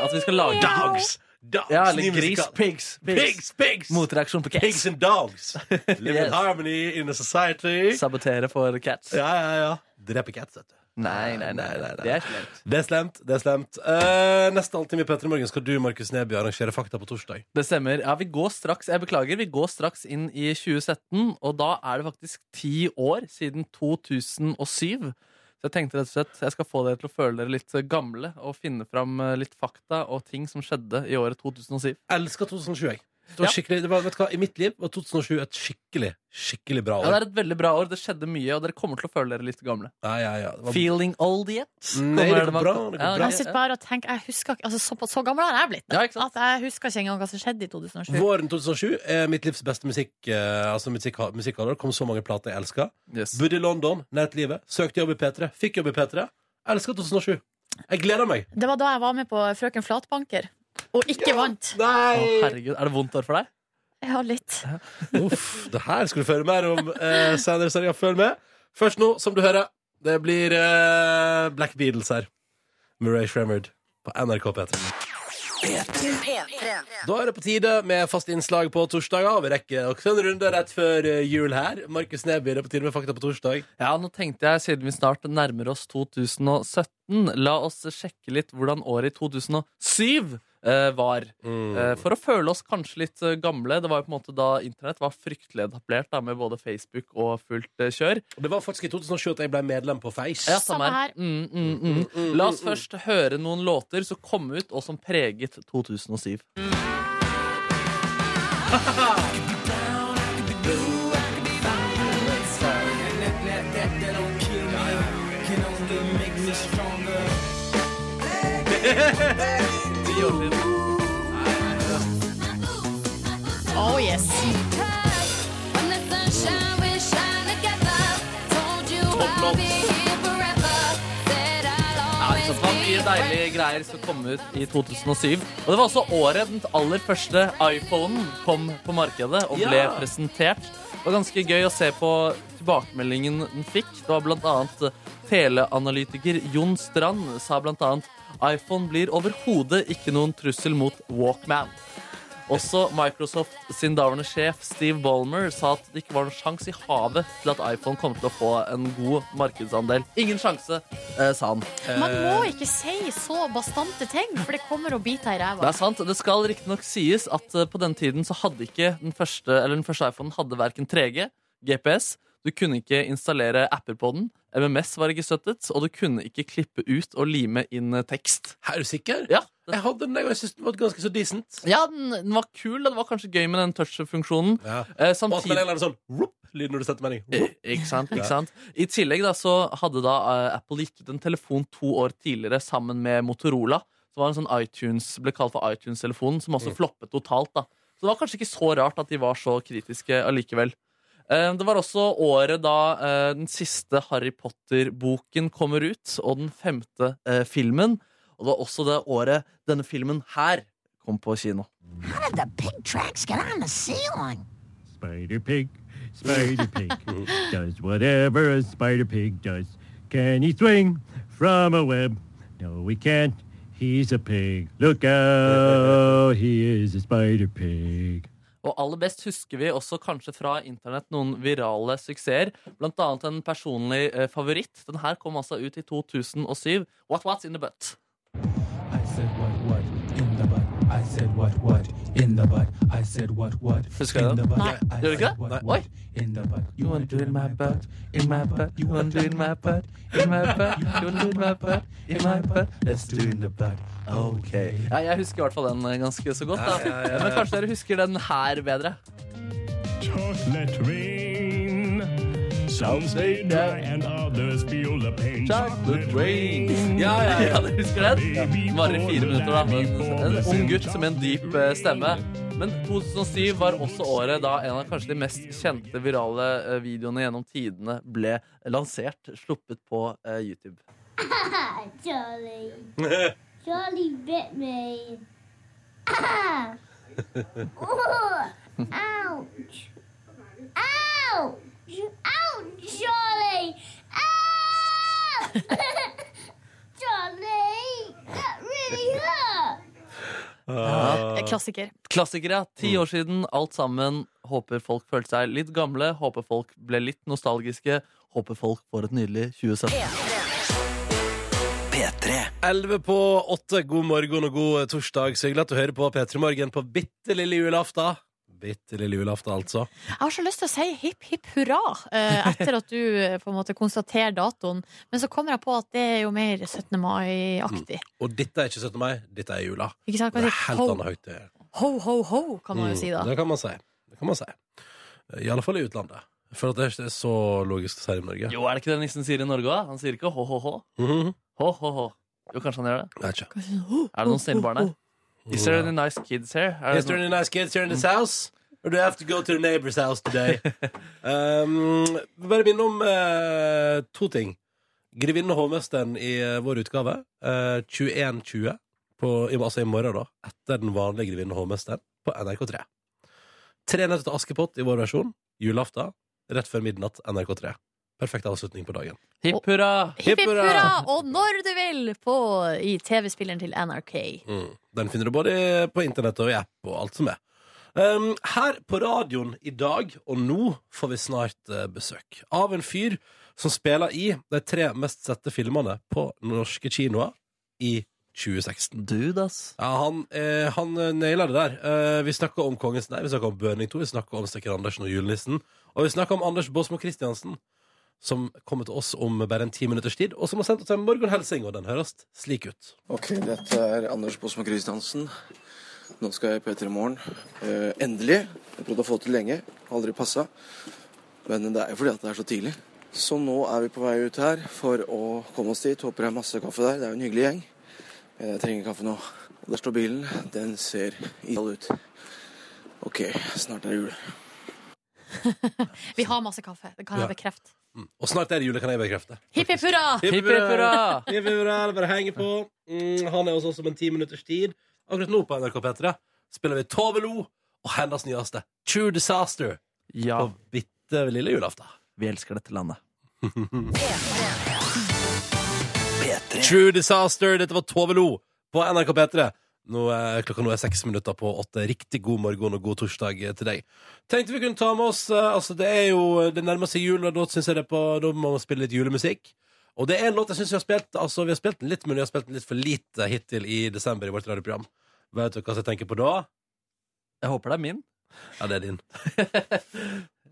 E: At vi skal lage
B: Dogs! Dogs!
E: Ja, eller
B: Ny
E: gris.
B: musikal.
E: Pigs.
B: Pigs! Pigs!
E: Motreaksjon på
B: Pigs
E: cats.
B: and (laughs) dogs! Live in
E: Yes.
B: harmony in a society.
E: Sabotere for cats.
B: Ja, ja, ja. Drepe cats, vet du.
E: Nei, nei, nei.
B: Nei, nei, nei.
E: Det er slemt.
B: Det er slemt. det er slemt Eh, Neste halvtime i Petter i morgen skal du Markus Neby, arrangere Fakta på torsdag.
E: Det stemmer. Ja, vi går straks, jeg beklager, vi går straks inn i 2017, og da er det faktisk ti år siden 2007. Så jeg tenkte rett og slett jeg skal få dere til å føle dere litt gamle og finne fram eh, litt fakta og ting som skjedde i året 2007.
B: Elsker 2007, jeg. Det var
E: Ja.
B: skikkelig, det var, vet du hva, I mitt liv var 2007 et skikkelig skikkelig bra
E: Ja,
B: år.
E: det er et veldig bra år. Det skjedde mye, og dere kommer til å føle dere litt gamle.
B: Ja, ja, ja. Det var-
E: Feeling old yet?
B: Mm. Nei, det går
E: Kommer
B: bra,
E: man-
B: det går bra.
D: Jeg sitter bare og tenker jeg husker, ikke- altså, så, så gammel har jeg blitt. Da,
E: Ja, ikke sant?
D: at jeg husker ikke engang hva som skjedde i 2007.
B: Våren 2007 er mitt livs beste musikk eh, Altså musikk, musikkhalvår. Kom så mange plater jeg elsker.
E: Yes.
B: Bodde i London, nært livet. Søkte jobb i P3. Fikk jobb i P3. Elsker 2007. Jeg gleder meg.
D: Det var da jeg var med på Frøken Flatbanker. Og ikke vant.
E: Å, herregud, er det vondt år for deg?
D: Ja, litt.
B: Uff, det her skal du få høre mer om eh, senere i sendinga. Følg med. Først nå, som du hører, det blir eh, Black Beatles her. Murray Shremmerd på NRK P3. Da er det på tide med fast innslag på torsdager. og Vi rekker også en runde rett før eh, jul her. Markus Neby, det er på tide med Fakta på torsdag.
E: Ja, nå tenkte jeg, siden vi snart nærmer oss 2017, la oss sjekke litt hvordan året i 2007 eh, var.
B: Mm.
E: Eh, for å føle oss kanskje litt eh, gamle. Det var jo på en måte da internett var fryktelig etablert, da, med både Facebook og fullt eh, kjør.
B: Og Det var faktisk i 2007 at jeg ble medlem på Face.
E: Ja,
D: Samme her.
E: Mm, mm, mm. La oss først høre noen låter som kom ut, og som preget (laughs) 2007.
D: Oh yes.
E: Ja, ikke sant? Det var mye deilige greier som kom ut i 2007. Og det var også året den aller første iPhonen kom på markedet og ble
B: Ja.
E: presentert. Det var ganske gøy å se på tilbakemeldingen den fikk. Det var blant annet eh, teleanalytiker Jon Strand sa blant annet iPhone blir overhodet ikke noen trussel mot Walkman. Også Microsoft sin daværende sjef Steve Ballmer sa at det ikke var noen sjanse i havet til at iPhone kom til å få en god markedsandel. Ingen sjanse, eh, sa han.
D: Man må
B: Eh.
D: ikke si så bastante ting, for det kommer å bite deg i
E: Det
D: ræva.
E: er sant. Det skal riktignok sies at eh, på den tiden så hadde ikke den første, eller den første iPhonen hadde verken 3G, GPS, du kunne ikke installere apper på den, MMS var ikke støttet, og du kunne ikke klippe ut og lime inn eh, tekst.
B: Er du sikker?
E: Ja, den,
B: Jeg hadde den, jeg, og jeg synes den var ganske så decent.
E: ja, den, den var kul, og det var kanskje gøy med den touch-funksjonen.
B: Ja. Og
E: Eh,
B: at man
E: samtidig...
B: er sånn whoop, lyd når du setter melding.
E: Eh,
B: Whoop.
E: Ikke sant, ikke sant I tillegg da, så hadde da eh, Apple gitt ut en telefon to år tidligere Sammen med Motorola Som var en sånn iTunes, ble kalt for iTunes-telefonen Som også floppet totalt da Så det var kanskje ikke så rart at de var så kritiske allikevel Eh, Det var også året da eh, Den siste Harry Potter-boken kommer ut Og den femte eh, filmen Og det var også det året Denne filmen her kom på kino
H: Spider Pig, Spider Pig does whatever a Spider Pig does. Can he swing from a web? No, he can't. He's a pig. Look out, he is a Spider Pig.
E: Og aller best husker vi også kanskje fra internett noen virale suksesser. Blant annet en personlig eh, favoritt. Den her kom altså ut i 2007. What What's In The Butt.
I: I said what what in the butt. I said what what in the butt. I said what what
E: Husker
I: in
E: du
I: the
E: den?
I: butt.
D: Nei.
I: I
E: Gjør du ikke
I: said
E: det?
I: what
E: Nei.
I: what in the butt. You wanna do it in my butt, in my butt. You wanna do it in my butt, in my butt. You wanna do it in my butt, in my butt. Let's do it in the butt. Okay.
E: Ja, jeg husker i hvert fall den eh, ganske så godt. Da. Men kanskje dere husker den her bedre.
H: Don't let rain. Some stay dry and others feel the pain.
E: Chocolate rain. Ja, ja, (laughs) ja, dere husker den? Den Varer i fire minutter, da. Men en ung gutt med en dyp eh, stemme. Men 2007 var også året da en av kanskje de mest kjente virale eh, videoene gjennom tidene ble lansert, sluppet på eh, YouTube.
F: Ah, Charlie. Charlie bit me. Ah. Oh, ouch. Ouch. Ouch, Charlie. Ouch. (laughs) Charlie, that really hurt.
D: Klassiker.
E: Klassikere. Ti år siden, alt sammen. Håper folk følte seg litt gamle. Håper folk ble litt nostalgiske. Håper folk får et nydelig 2017.
B: 11 på 8. God morgen og god eh, torsdag. Så hyggelig at du hører på P3 Morgen på bitte lille julaften. Bitte lille julaften, altså.
D: Jeg har så lyst til å si hipp hipp hurra eh, etter at du eh, på en måte konstaterer datoen, men så kommer jeg på at det er jo mer 17. mai-aktig.
B: Og dette er ikke 17. mai, dette er jula.
D: Ikke sant?
B: Mm. Det
D: Kan
B: er
D: si
B: helt
D: ho,
B: annen høytid.
D: ho, ho, ho, kan man
B: Mm,
D: jo si da.
B: Det kan man si. Det kan man si. I alle fall i utlandet. For at det er ikke så logisk å si det i Norge.
E: Jo, er det ikke det nissen sier i Norge òg? Han sier ikke ho-ho-ho.
B: Mhm.
E: Ho-ho-ho. Jo, kanskje han gjør det.
B: Nei, ikke.
E: Er det noen snille barn her? Is there any nice kids here? Er det
B: Is there any nice kids here in this house? Or do I have to go to the neighbor's house today? um, bare minne om eh, to ting. Grevinnen og hovmesteren i eh, vår utgave. eh, 21.20, på- i- altså i morgen, da. Etter den vanlige Grevinnen og hovmesteren på NRK3. Tre nøtter til Askepott i vår versjon. Julaften. Rett før midnatt, NRK3. Perfekt avslutning på dagen.
E: noen- Hipp hurra!
D: Hipp hipp
B: hurra!
D: hurra, og når du vil, på, i TV-spilleren til NRK.
B: Mm. Den finner du både på internett og i app og alt som er. Um, her på radioen i dag og nå får vi snart eh, besøk av en fyr som spiller i de tre mest sette filmene på norske kinoer i 2016.
E: Dude, ass.
B: Ja, han, eh, han eh, naila det der. Eh, vi snakka om Kongens Nei, vi snakka om Bøning 2, vi snakka om Stekker Andersen og Julenissen. Og vi snakka om Anders Båsmo Christiansen, som kommer til oss om bare en ti minutters tid, og som har sendt oss en morgenhelsing, og den høres slik ut.
J: Ok, dette er Anders Bosmo Christiansen. Nå skal jeg i P3 Morgen. Eh, endelig. Jeg prøvde å få til lenge. Aldri passa. Men det er jo fordi at det er så tidlig. Så nå er vi på vei ut her for å komme oss dit. Håper det er masse kaffe der. Det er jo en hyggelig gjeng. Men jeg trenger kaffe nå. Og der står bilen. Den ser iall ut. Ok, snart er det jul.
D: Vi har masse kaffe, det kan jeg
B: Ja.
D: bekrefte.
B: Og snart er det jule, kan jeg bekrefte.
D: Hipp hipp hurra!
E: Hipp hipp hurra!
B: Hipp, hipp, hurra, det er bare å henge på. Mm, han er hos oss om en ti minutters tid. Akkurat nå på NRK P3 spiller vi Tove Lo og hennes nyeste True Disaster på
E: Ja,
B: bitte lille julaften.
E: vi elsker dette landet.
B: True Disaster, dette var Tove Lo på NRK P3. Nå er, klokka nå er seks minutter på åtte. Riktig god morgen og god torsdag til deg. Tenkte vi kunne ta med oss eh, Altså, det er jo Det nærmer seg jul, og da synes jeg det er på Da må man spille litt julemusikk. Og det er en låt jeg synes vi har spilt Altså, vi har spilt den litt, men vi har spilt den litt for lite hittil i desember i vårt radioprogram. Vet du hva jeg tenker på da?
E: Jeg håper det er min.
B: Ja, det er din. (laughs)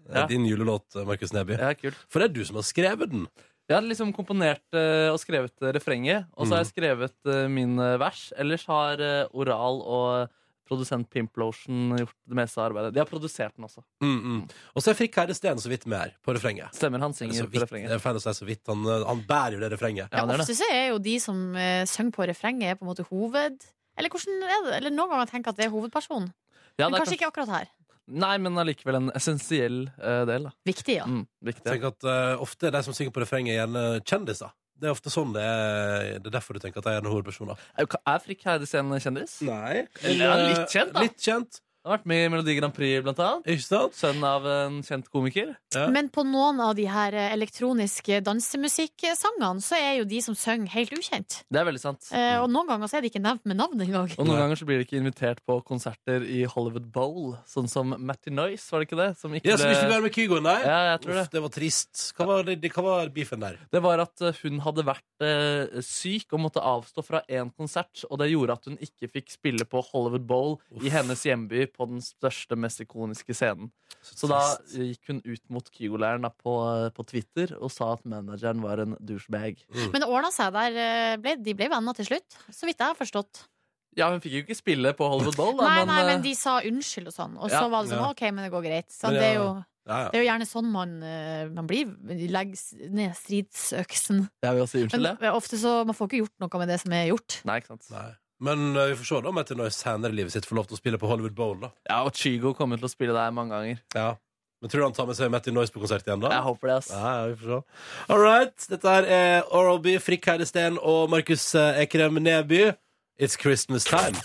B: Det er
E: Ja.
B: Din julelåt, Markus Neby.
E: Ja, kult.
B: For det er du som har skrevet den.
E: Jeg har liksom komponert eh, og skrevet eh, refrenget, og så har jeg skrevet eh, min eh, vers. Ellers har eh, Oral og produsent Pimplotion gjort det meste av arbeidet. De har produsert den også.
B: Mm -mm. Og så er Frikk Herre Steen så vidt med her, på refrenget.
E: Stemmer, han
B: Eller så
E: synger på
B: vidt, det
E: refrenget.
B: er feil å si så vidt. Han, eh, han bærer jo det refrenget.
E: Ja, det er det.
D: Ofte så er jo de som uh, synger på refrenget, er på en måte hoved... Eller, hvordan er det? Eller noen ganger tenker jeg at det er hovedpersonen.
E: Ja,
D: Men
E: det er
D: kanskje ikke akkurat her.
E: Nei, men allikevel en essensiell eh, del. Da.
D: Viktig, ja.
E: Mm,
B: Jeg
E: viktig.
B: tenker at eh, Ofte er de som synger på refrenget, gjerne kjendiser. Det er ofte sånn det er. Det er derfor du tenker at de er gjerne hovedpersoner.
E: Er Frikk Heides en kjendis? Han
B: Nei.
E: Ja, litt kjent, da.
B: eh, Litt kjent,
E: har vært med i Melodi Grand Prix, blant annet.
B: ikke sant?
E: Sønn av en kjent komiker.
B: Ja.
D: Men på noen av de her eh, elektroniske dansemusikksangene så er jo de som synger, helt ukjent.
E: Det er veldig sant.
D: Eh, og noen ganger så er de ikke nevnt med navn engang.
E: Og noen ganger så blir de ikke invitert på konserter i Hollywood Bowl, sånn som Matty Noyce, var det ikke det? Som ikke
B: Ja, som ikke vil
E: ble...
B: være med Kygo, nei?
E: Ja, jeg tror det.
B: Uff, det var trist. Hva var, det, hva var beefen der?
E: Det var at eh, hun hadde vært eh, syk og måtte avstå fra én konsert, og det gjorde at hun ikke fikk spille på Hollywood Bowl i hennes hjemby på den største, mest ikoniske scenen. Så da
B: trist.
E: gikk hun ut mot Kygo-leiren da på, på Twitter og sa at manageren var en douchebag.
D: Men det ordna seg der. eh, Ble, de ble venner til slutt, så vidt jeg har forstått.
E: Ja, hun fikk jo ikke spille på Hollywood Bowl, da,
D: Nei, nei,
E: eh,
D: men de sa unnskyld og sånn. Og så
E: Ja.
D: var det sånn,
B: Ja.
D: OK, men det går greit. Så
B: Men
D: det, er
B: ja.
D: jo,
B: Ja, ja.
D: det er jo gjerne sånn man, eh, man blir. De legger ned stridsøksen.
E: Jeg vil også si unnskyld,
D: Men eh,
E: jeg.
D: ofte så man får ikke gjort noe med det som er gjort.
E: Nei, ikke sant.
B: Nei. Men eh, vi får se da om Etter Noise senere i livet sitt får lov til å spille på Hollywood Bowl. da
E: Ja, og Kygo kommer til å spille der mange ganger.
B: Ja, Men tror du han tar med seg Matty Noise på konsert igjen, da?
E: Jeg håper det, ass.
B: Ja, ja, vi får se. All right. Dette her er Oral B, Frikk Heidesteen og Markus eh, Ekrem Neby. It's Christmas time.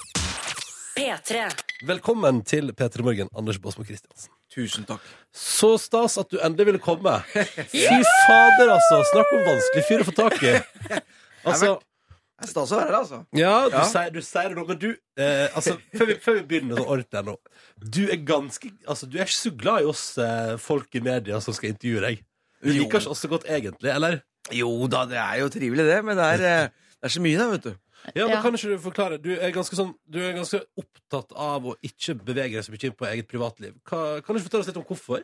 A: P3.
B: Velkommen til P3 Morgen, Anders Båsmo Christiansen.
K: Tusen takk.
B: Så stas at du endelig ville komme. Fy fader, altså. Snakk om vanskelig fyr å få tak i. Altså,
K: Det er stas å være her, altså.
B: ja, du,
K: Ja.
B: Sier, du sier det nå, men du eh, altså, før, vi, før vi begynner sånn ordentlig her nå Du er ganske altså, Du er ikke så glad i oss eh, folk i media som skal intervjue deg. Du
K: Jo.
B: liker ikke oss så godt egentlig, eller?
K: Jo da, det er jo trivelig, det, men det er, eh, det er så mye, da, vet du.
B: Ja, men
D: Ja.
B: Kan ikke du forklare? Du er ganske, sånn, du er ganske opptatt av å ikke bevege deg så mye inn på eget privatliv. Hva, kan du ikke fortelle oss litt om hvorfor?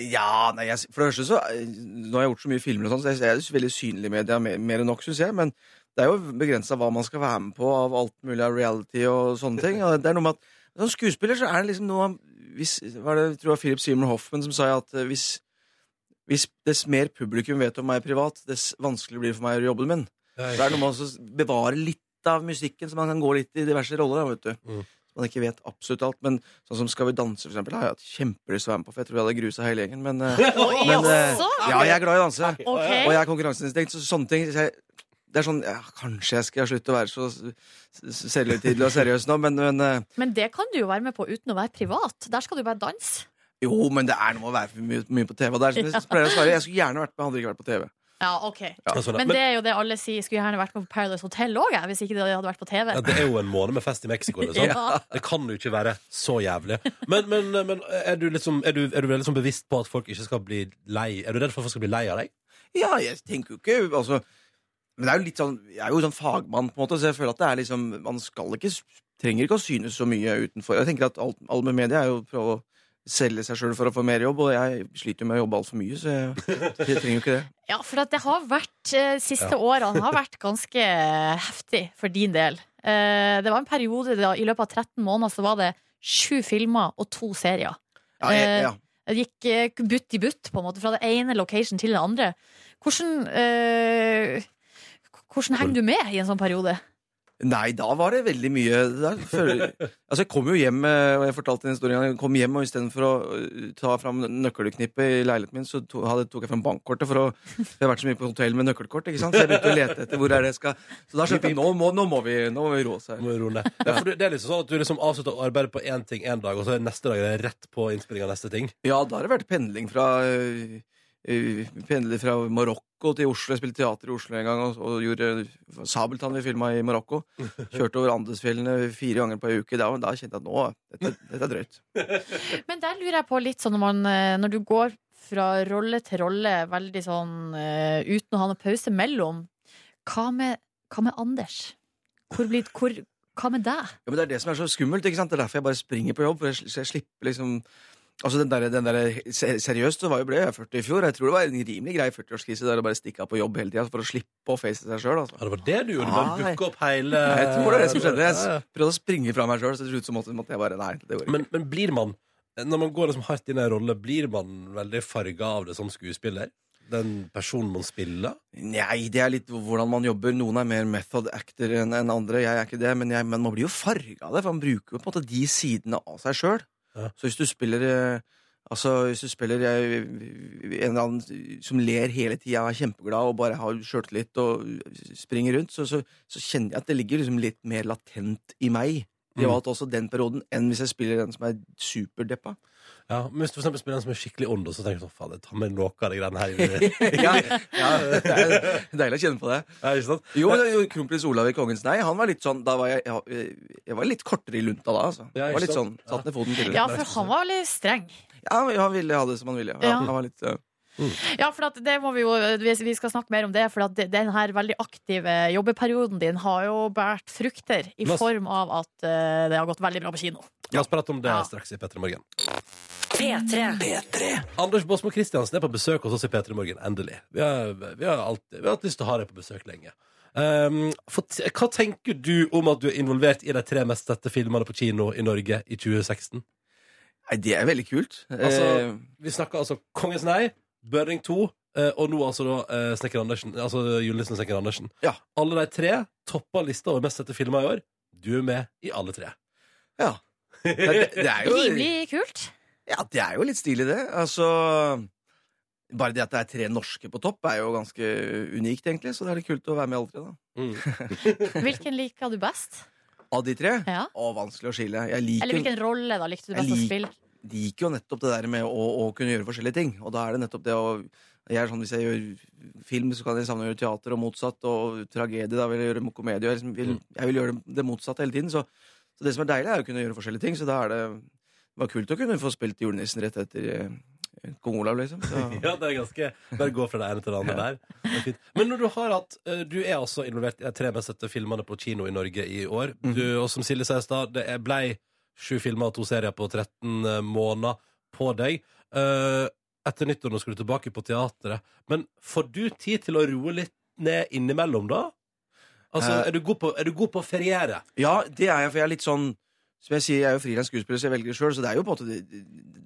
K: Ja, nei, jeg, for det første så eh, Nå har jeg gjort så mye filmer og sånn, så jeg, jeg er jo veldig synlig i media, mer, mer enn nok, syns jeg. Men det er jo begrensa hva man skal være med på av alt mulig av reality og sånne ting. Og det er noe med at Som skuespiller så er det liksom noe av- hvis, Hva er det jeg tror jeg Philip Seymour Hoffman som sa at eh, hvis, hvis dess mer publikum vet om meg privat, dess vanskeligere blir det for meg å gjøre jobben min. Så det er noe med å også bevare litt av musikken, så man kan gå litt i diverse roller. da, vet du.
B: Mm.
K: Så man ikke vet absolutt alt. Men sånn som Skal vi danse, for eksempel, har jeg hatt kjempelyst til å være med på, for jeg tror jeg hadde grusa hele gjengen. Men, eh,
D: (laughs) Oi,
K: men eh,
D: altså?
K: ja, jeg er glad i å danse.
D: Ok.
K: Og jeg er konkurranseinstinkt, så sånne ting så jeg, Det er sånn ja, Kanskje jeg skal slutte å være så s- s- selvhøytidelig og seriøs nå, men, men eh,
D: Men det kan du jo være med på uten å være privat. Der skal du bare danse.
K: Jo, men det er noe med å være for mye, mye på TV. Og det er som jeg pleier å svare, jeg skulle gjerne vært med, hadde det ikke vært på TV.
D: Ja, ok.
B: Altså,
D: Men det er jo det alle sier. Skulle gjerne vært med på Paradise Hotel òg, hvis ikke det hadde vært på TV.
B: Ja, det er jo en måned med fest i Mexico. Liksom.
D: (laughs) Ja.
B: Det kan jo ikke være så jævlig. Men, men, men er du, liksom, er du, er du veldig sånn bevisst på at folk ikke skal bli lei Er du redd for at folk skal bli lei av deg?
K: Ja, jeg tenker jo ikke altså, Men det er jo litt sånn Jeg er jo sånn fagmann, på en måte, så jeg føler at det er liksom Man skal ikke Trenger ikke å synes så mye utenfor. Jeg tenker at alt, all med media er jo å prøve å selge seg sjøl for å få mer jobb, og jeg sliter jo med å jobbe altfor mye, så jeg, jeg trenger jo ikke det.
D: Ja, for at det har vært eh, siste årene har vært ganske eh, heftig for din del. Eh, det var en periode da, i løpet av 13 måneder så var det sju filmer og to serier.
K: Ja, jeg, ja.
D: Det gikk eh, butt i butt, på en måte, fra det ene location til det andre. Hvordan, eh, k- hvordan henger du med i en sånn periode?
K: Nei, da var det veldig mye da føler, Altså, jeg kom jo hjem eh, Og jeg fortalte en historie en gang, Jeg kom hjem, og istedenfor å eh, ta fram nøkkelknippet i leiligheten min, så to, hadde, tok jeg fram bankkortet, for å for Jeg har vært så mye på hotell med nøkkelkort, ikke sant? Så jeg begynte å lete etter hvor er det jeg skal Så da skjønte jeg nå må, nå må vi nå må vi roe oss her.
B: Må du roe ned? Ja, for du- det er liksom sånn at du liksom avslutter arbeidet på én ting en dag, og så er neste dag er det rett på innspilling av neste ting.
K: Ja, da har det vært pendling fra eh, eh, Pendler fra Marokko til Oslo. Jeg spilte teater i Oslo en gang og, og gjorde Sabeltann vi filma i Marokko. Kjørte over Andesfjellene fire ganger på ei uke. Da, da kjente jeg at nå Dette, dette er drøyt.
D: Men der lurer jeg på litt sånn når, man, eh, når du går fra rolle til rolle, veldig sånn eh, uten å ha noe pause mellom, hva med, hva med Anders? Hvor blir, hvor, hva med deg?
K: Ja, men Det er det som er så skummelt. ikke sant? Det er derfor jeg bare springer på jobb. for jeg, sl- så jeg slipper liksom... Altså den der, den der ser- Seriøst, så var jo ble jeg 40 i fjor. Jeg tror det var en rimelig grei 40-årskrise der å bare stikke av på jobb hele tida for å slippe å face seg sjøl. Altså.
B: Ja, det var det du gjorde. Du bare
K: Nei.
B: booka opp hele
K: Jeg tror det er det som skjedde. Jeg s- prøvde å springe fra meg sjøl, så til slutt så måtte, måtte jeg bare Nei, det går ikke.
B: Men, men blir man Når man går liksom hardt inn i en rolle, blir man veldig farga av det som skuespiller? Den personen man spiller?
K: Nei, det er litt hvordan man jobber. Noen er mer method actor enn enn andre. Jeg er ikke det, men, jeg, men man blir jo farga av det, for man bruker jo på en måte de sidene av seg sjøl.
B: Ja.
K: Så hvis du spiller eh, Altså, hvis du spiller jeg, en eller annen som ler hele tida og er kjempeglad og bare har sjøltillit og springer rundt, så, så, så kjenner jeg at det ligger liksom litt mer latent i meg. Privat også den perioden, enn hvis jeg spiller en som er superdeppa.
B: Ja, men Hvis du for eksempel spiller en som er skikkelig ond, og så tenker du sånn Faen, jeg tar med noe av de greiene her. i-
K: ja, ja, det er deilig å kjenne på det.
B: Ja, ikke sant?
K: Jo, det er jo kronprins Olav i Kongens Nei, han var litt sånn Da var jeg Jeg, jeg var litt kortere i lunta da, altså.
B: Ja,
K: Jeg
B: ikke
K: var litt sånn,
B: sant?
K: Satt ned foten
D: Ja,
K: tidligere.
D: for han var veldig streng.
K: Ja, han- han ville ha det som han ville. Ja,
D: Ja.
K: Han var litt, eh,
D: Ja, for at det må vi jo Vi skal snakke mer om det, for at det- den her veldig aktive jobbeperioden din har jo båret frukter i
B: Mas-
D: form av at eh, det har gått veldig bra på kino.
B: La oss prate om det
D: Ja.
B: straks i P3 Morgen.
A: P3.
B: Anders Båsmo Christiansen er på besøk hos oss i P3 Morgen, endelig. Vi har, vi, har alltid, vi har hatt lyst til å ha deg på besøk lenge. Ehm, fort- hva tenker du om at du er involvert i de tre mest sette filmene på kino i Norge i 2016?
K: Nei, det er veldig kult. Eh,
B: Altså- Vi snakker altså Kongens Nei, Børring 2 eh, og nå altså da eh, Snekker Andersen. Altså Julenissen og Snekker Andersen.
K: Ja.
B: Alle de tre toppa lista over mest sette filmer i år. Du er med i alle tre.
K: eh, ja. Det, det er jo
D: Rimelig kult.
K: Ja, det er jo litt stilig, det. Altså Bare det at det er tre norske på topp, er jo ganske unikt, egentlig. Så det er litt kult å være med alle tre, da.
D: Hvilken liker du best?
K: Av de tre?
D: Ja.
K: Å, vanskelig å skille. Jeg liker,
D: Eller hvilken rolle da likte du
K: Jeg
D: best å
K: lik-
D: spille?
K: liker jo nettopp det der med å, å kunne gjøre forskjellige ting. Og da er det nettopp det å jeg er sånn, Hvis jeg gjør film, så kan jeg savne å gjøre teater, og motsatt. Og tragedie, da vil jeg gjøre komedie. Jeg, liksom vil, jeg vil gjøre det motsatte hele tiden. Så, så det som er deilig, er å kunne gjøre forskjellige ting. Så da er det det var kult å kunne få spilt julenissen rett etter eh, kong Olav, liksom. Så.
B: Ja, det er ganske Bare gå fra det ene til det andre der. Det er fint. Men når du har hatt eh, Du er altså involvert i de tre mest sette filmene på kino i Norge i år. Du, og som Silje sa i stad, det er- blei sju filmer og to serier på 13 måneder på deg. Eh, etter nyttår nå skal du tilbake på teatret. Men får du tid til å roe litt ned innimellom, da? Altså,
K: Eh.
B: er du god på, er du god på å feriere?
K: Ja, det er jeg, for jeg er litt sånn Som jeg sier, jeg er jo frilans skuespiller, så jeg velger sjøl, så det er jo på en måte det,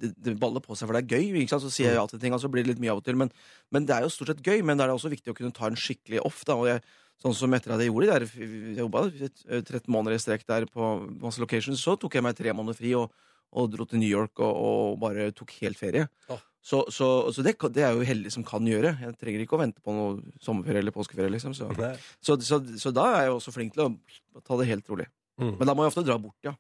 K: det, det baller på seg, for det er gøy. Ikke sant? Så sier jeg ja til ting, og så blir det litt mye av og til. Men, men det er jo stort sett gøy, men da er det også viktig å kunne ta en skikkelig off. Da, og jeg, sånn som etter at jeg gjorde det der, jeg jobba 13 måneder i strekk der på masse locations, så tok jeg meg tre måneder fri og, og dro til New York og, og bare tok helt ferie. Så, så, så det, kan- det er jeg jo heldig som kan gjøre. Jeg trenger ikke å vente på noe sommerferie eller påskeferie. Liksom, så.
B: Nei.
K: Så, så, så da er jeg jo også flink til å ta det helt rolig. Men da må jeg ofte dra bort, ja.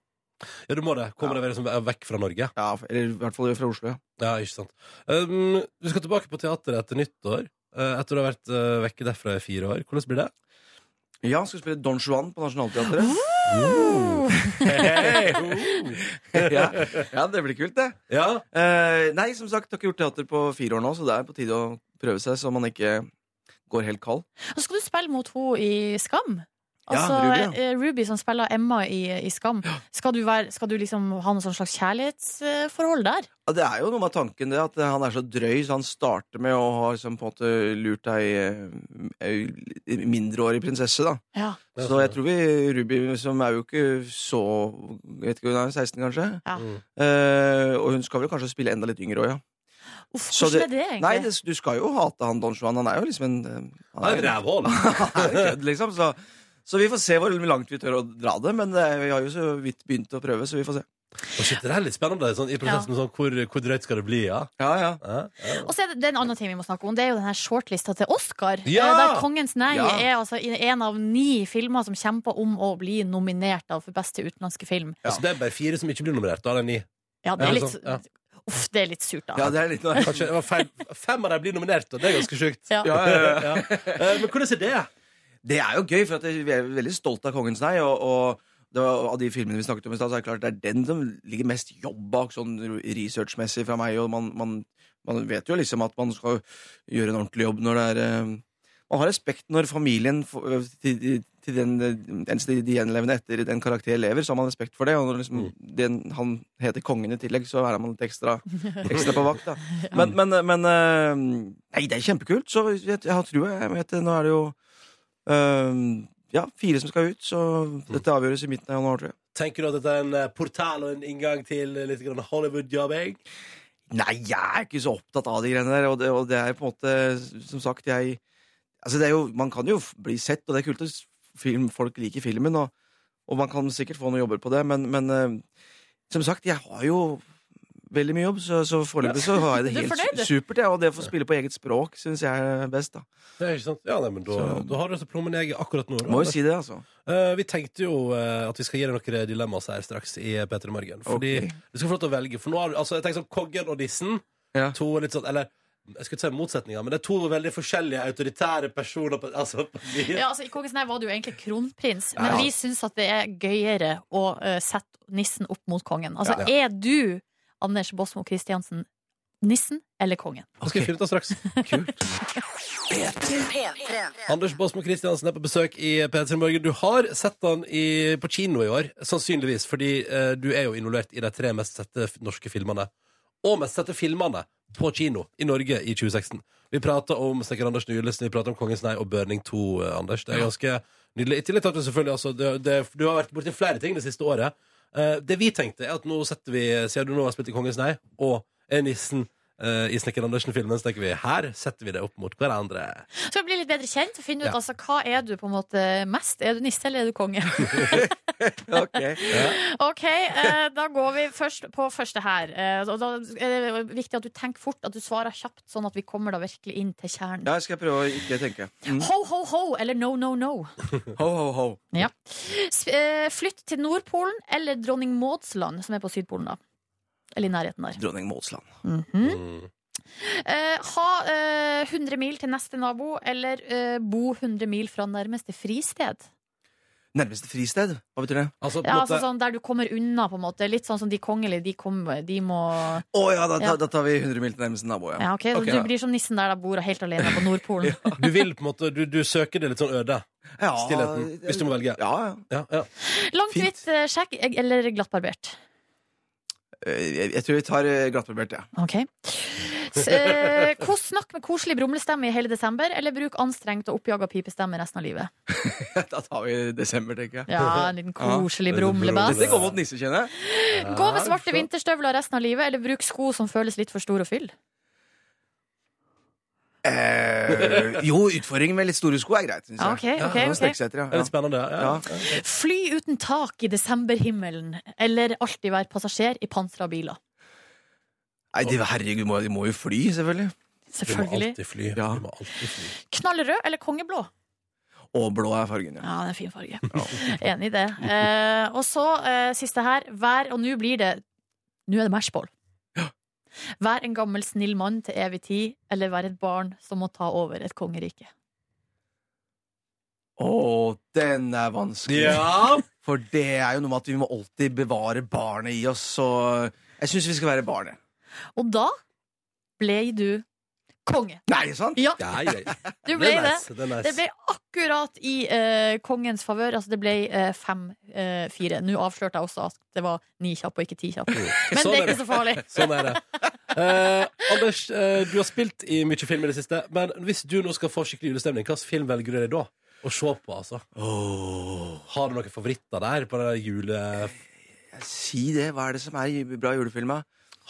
B: Ja, du må det. Kommer deg liksom vekk fra Norge?
K: Ja, eller i hvert fall fra Oslo, ja.
B: Ja, ikke sant. Um, du skal tilbake på teateret etter nyttår. eh, etter å ha vært eh, vekke derfra i fire år. Hvordan blir det?
K: Ja, skal spille Don Juan på Nationaltheatret. ja. ja, det blir kult, det. Eh, nei, som sagt, har ikke gjort teater på fire år nå, så det er på tide å prøve seg, så man ikke går helt kald.
D: Og så skal du spille mot henne i Skam.
K: Ja,
D: Altså,
K: Ruby,
D: eh, Ruby som spiller Emma i, i Skam. Skal du, være, skal du liksom ha noe sånn slags kjærlighetsforhold der?
K: Ja, det er jo noe med tanken det, at han er så drøy, så han starter med å ha liksom, på en måte lurt ei eh, ei mindreårig prinsesse, da.
D: Ja.
K: Så jeg tror vi Ruby, som er jo ikke så vet ikke, Hun er 16, kanskje?
B: Mm.
K: Eh, og hun skal vel kanskje spille enda litt yngre òg, ja.
D: Uff,
K: Så
D: hvordan er det egentlig?
K: Nei, det, du skal jo hate han Don Juan. Han er jo liksom en eh, Han
B: er et rævhål.
K: (laughs) Han er jo kødd, liksom. Så, så vi får se hvor langt vi tør å dra det. Men eh, vi har jo så vidt begynt å prøve, så vi får se.
B: Og shit, det er litt spennende sånn, i prosessen. Sånn, hvor, hvor drøyt skal det bli? Ja, Ja, ja.
D: Og så er det, det er en annen ting vi må snakke om. Det er jo den her shortlista til Oscar.
B: Ja!
D: eh, Der 'Kongens nei'
B: Ja.
D: er altså i- en av ni filmer som kjemper om å bli nominert da, for beste utenlandske film.
B: Altså, det er bare fire som ikke blir nominert. Da er det ni.
D: Ja, det er litt,
B: sånn, ja.
D: Uff, det er litt surt, da.
B: Kanskje det var feil. Fem av dem blir nominert, og det er ganske sjukt.
D: Ja.
K: Ja, ja, ja.
B: Eh, Men hvordan er det?
K: Det er jo gøy, for at vi er veldig stolt av Kongens nei. Og, og det var, av de filmene vi snakket om i stad, så er det klart det er den som ligger mest jobb bak, sånn researchmessig fra meg. Og man, man, man vet jo liksom at man skal gjøre en ordentlig jobb når det er eh, Man har respekt når familien får- eh, til, til den eh, eneste de gjenlevende etter en karakter lever, så har man respekt for det. Og når liksom den, han heter kongen i tillegg, så er man litt ekstra, ekstra på vakt, da. Men, men, men eh, Nei, det er kjempekult, så jeg, jeg har trua. Jeg vet, det, nå er det jo Ehm, ja, fire som skal ut, så dette avgjøres i midten av januar, tror jeg.
B: Tenker du at dette er en eh, portal og en inngang til eh, litt grann Hollywood-jobbing?
K: Nei, jeg er ikke så opptatt av de greiene der, og det, og det er på en måte, som sagt, jeg Altså, det er jo Man kan jo f- bli sett, og det er kult at film, folk liker filmen, og, og man kan sikkert få noen jobber på det, men, men eh, som sagt, jeg har jo Veldig mye jobb, så, så foreløpig så har jeg det
B: (laughs) Du er
K: helt
B: fornøyd, du?
K: su- supert. Ja, og det å få spille på eget språk syns jeg er best, da.
B: Det er ikke sant. Ja, nei, men da,
K: Så-
B: da har du altså plommen i egget akkurat nå. da.
K: Må jo si det, altså.
B: Eh, vi tenkte jo eh, at vi skal gi deg noen dilemmaer her straks i P3 Morgen. Fordi
K: Ok.
B: du skal få lov til å velge. For nå har du, altså, jeg tenker sånn Koggen og Dissen.
K: (laughs)
B: To litt sånn, eller jeg skulle ikke si motsetninger, men det er to veldig forskjellige autoritære personer. På, altså, på de-
D: Ja, altså, I Kongens nei var det jo egentlig kronprins, men
B: Ja.
D: vi syns at det er gøyere å eh, sette nissen opp mot kongen. Altså,
B: Ja.
D: er du, Anders Båsmo Christiansen, nissen eller kongen?
B: Det skal vi finne ut av straks. Anders Båsmo Christiansen er på besøk i P3 Morgen. Du har sett han i, på kino i år, sannsynligvis, fordi eh, du er jo involvert i de tre mest sette f- norske filmene. Og mest sette filmene på kino i Norge i 2016. Vi prater om Stekker Anders Nylesen, vi prater om Kongens Nei og Burning 2, eh, Anders. Det er ganske nydelig. I tillegg til at du selvfølgelig altså, det, det, Du har vært borti flere ting det siste året. Eh, det vi tenkte, er at nå setter vi Siden du nå har spilt i Kongens Nei og er nissen eh, i Snekker Andersen-filmen, så tenker vi her setter vi det opp mot hverandre.
D: Så jeg blir litt bedre kjent og finne ut
B: Ja.
D: altså, hva er du på en måte mest. Er du nisse eller er du konge? OK, eh, da går vi først på første her. Eh, og da er det viktig at du tenker fort, at du svarer kjapt, sånn at vi kommer da virkelig inn til kjernen.
K: Ja, jeg skal prøve å ikke tenke. Mm.
D: Ho, ho, ho, eller no, no, no.
K: Ho, ho, ho.
D: Ja. S- eh, Flytt til Nordpolen eller Dronning Mauds land, som er på Sydpolen, da. Eller i nærheten der.
K: Dronning Mauds land.
D: Mhm.
B: Mm.
D: Eh, ha eh, 100 mil til neste nabo, eller eh, bo 100 mil fra nærmeste fristed.
K: Nærmeste fristed? Hva betyr det?
D: Ja, altså sånn Der du kommer unna, på en måte. Litt sånn som de kongelige. De, kommer- de må
K: Å ja, da, da, da tar vi 100 mil til nærmeste nabo, ja.
D: Ja, ok, så Du blir som nissen der da bor, og helt alene på (laughs) Nordpolen.
B: Du vil på en måte Du, du søker det litt sånn øde.
K: Ja,
B: Stillheten. Hvis du må velge. Ja, ja.
D: Langt, hvitt eh, skjegg eh, eller glattbarbert.
K: Eh, Jeg, jeg tror vi tar eh, glattbarbert, ja. (laughs)
D: Ok. S- (laughs) eh, kos- Snakk med koselig brumlestemme i hele desember, eller bruk anstrengt og oppjaga pipestemme resten av livet.
K: Da tar vi desember, tenker jeg.
D: Ja, en liten koselig
K: Ja.
D: brumlebass.
K: Dette går mot nisse, kjenner jeg.
D: Gå med svarte vinterstøvler resten av livet, eller bruk sko som føles litt for store og fyll.
K: Eh, jo, utfordring med litt store sko er greit, syns jeg.
D: Ja, ok, ok,
K: det må
D: ok.
K: strekke seg etter, ja.
B: Det er litt spennende, ja.
D: Fly uten tak i desemberhimmelen, eller alltid være passasjer i pansra biler.
K: Nei, de, herregud, må, de må jo fly, selvfølgelig.
D: Selvfølgelig.
K: alltid
B: fly.
K: Ja.
D: Knallrød eller kongeblå?
K: Og blå er fargen, ja.
D: Ja, det er en fin farge. Enig i det. Eh, og så eh, siste her. Vær, og nå blir det Nå er det mashball. Vær en gammel, snill mann til evig tid, eller vær et barn som må ta over et kongerike.
K: Å, den er vanskelig.
B: Ja.
K: For det er jo noe med at vi må alltid bevare barnet i oss, så jeg syns vi skal være barnet.
D: Og da ble du konge.
K: Nei, sant?
D: Ja.
B: Ja, ja, ja.
D: Du
B: Det
D: ble
B: er
D: det.
B: nice, det er nice.
D: Det ble akkurat i eh, kongens favør. Altså, det ble fem-fire. Nå avslørte jeg også at det var ni kjappe og ikke ti kjappe. Men
B: Sånn
D: det er ikke så
B: (laughs)
D: farlig.
B: Sånn er det. Eh, Anders, eh, du har spilt i mye film i det siste, men hvis du nå skal få skikkelig julestemning, hvilken film velger du deg da? Å se på, altså. Har du noen favoritter der på den jule...
K: Si det. Hva er det som er ju- bra julefilm, da?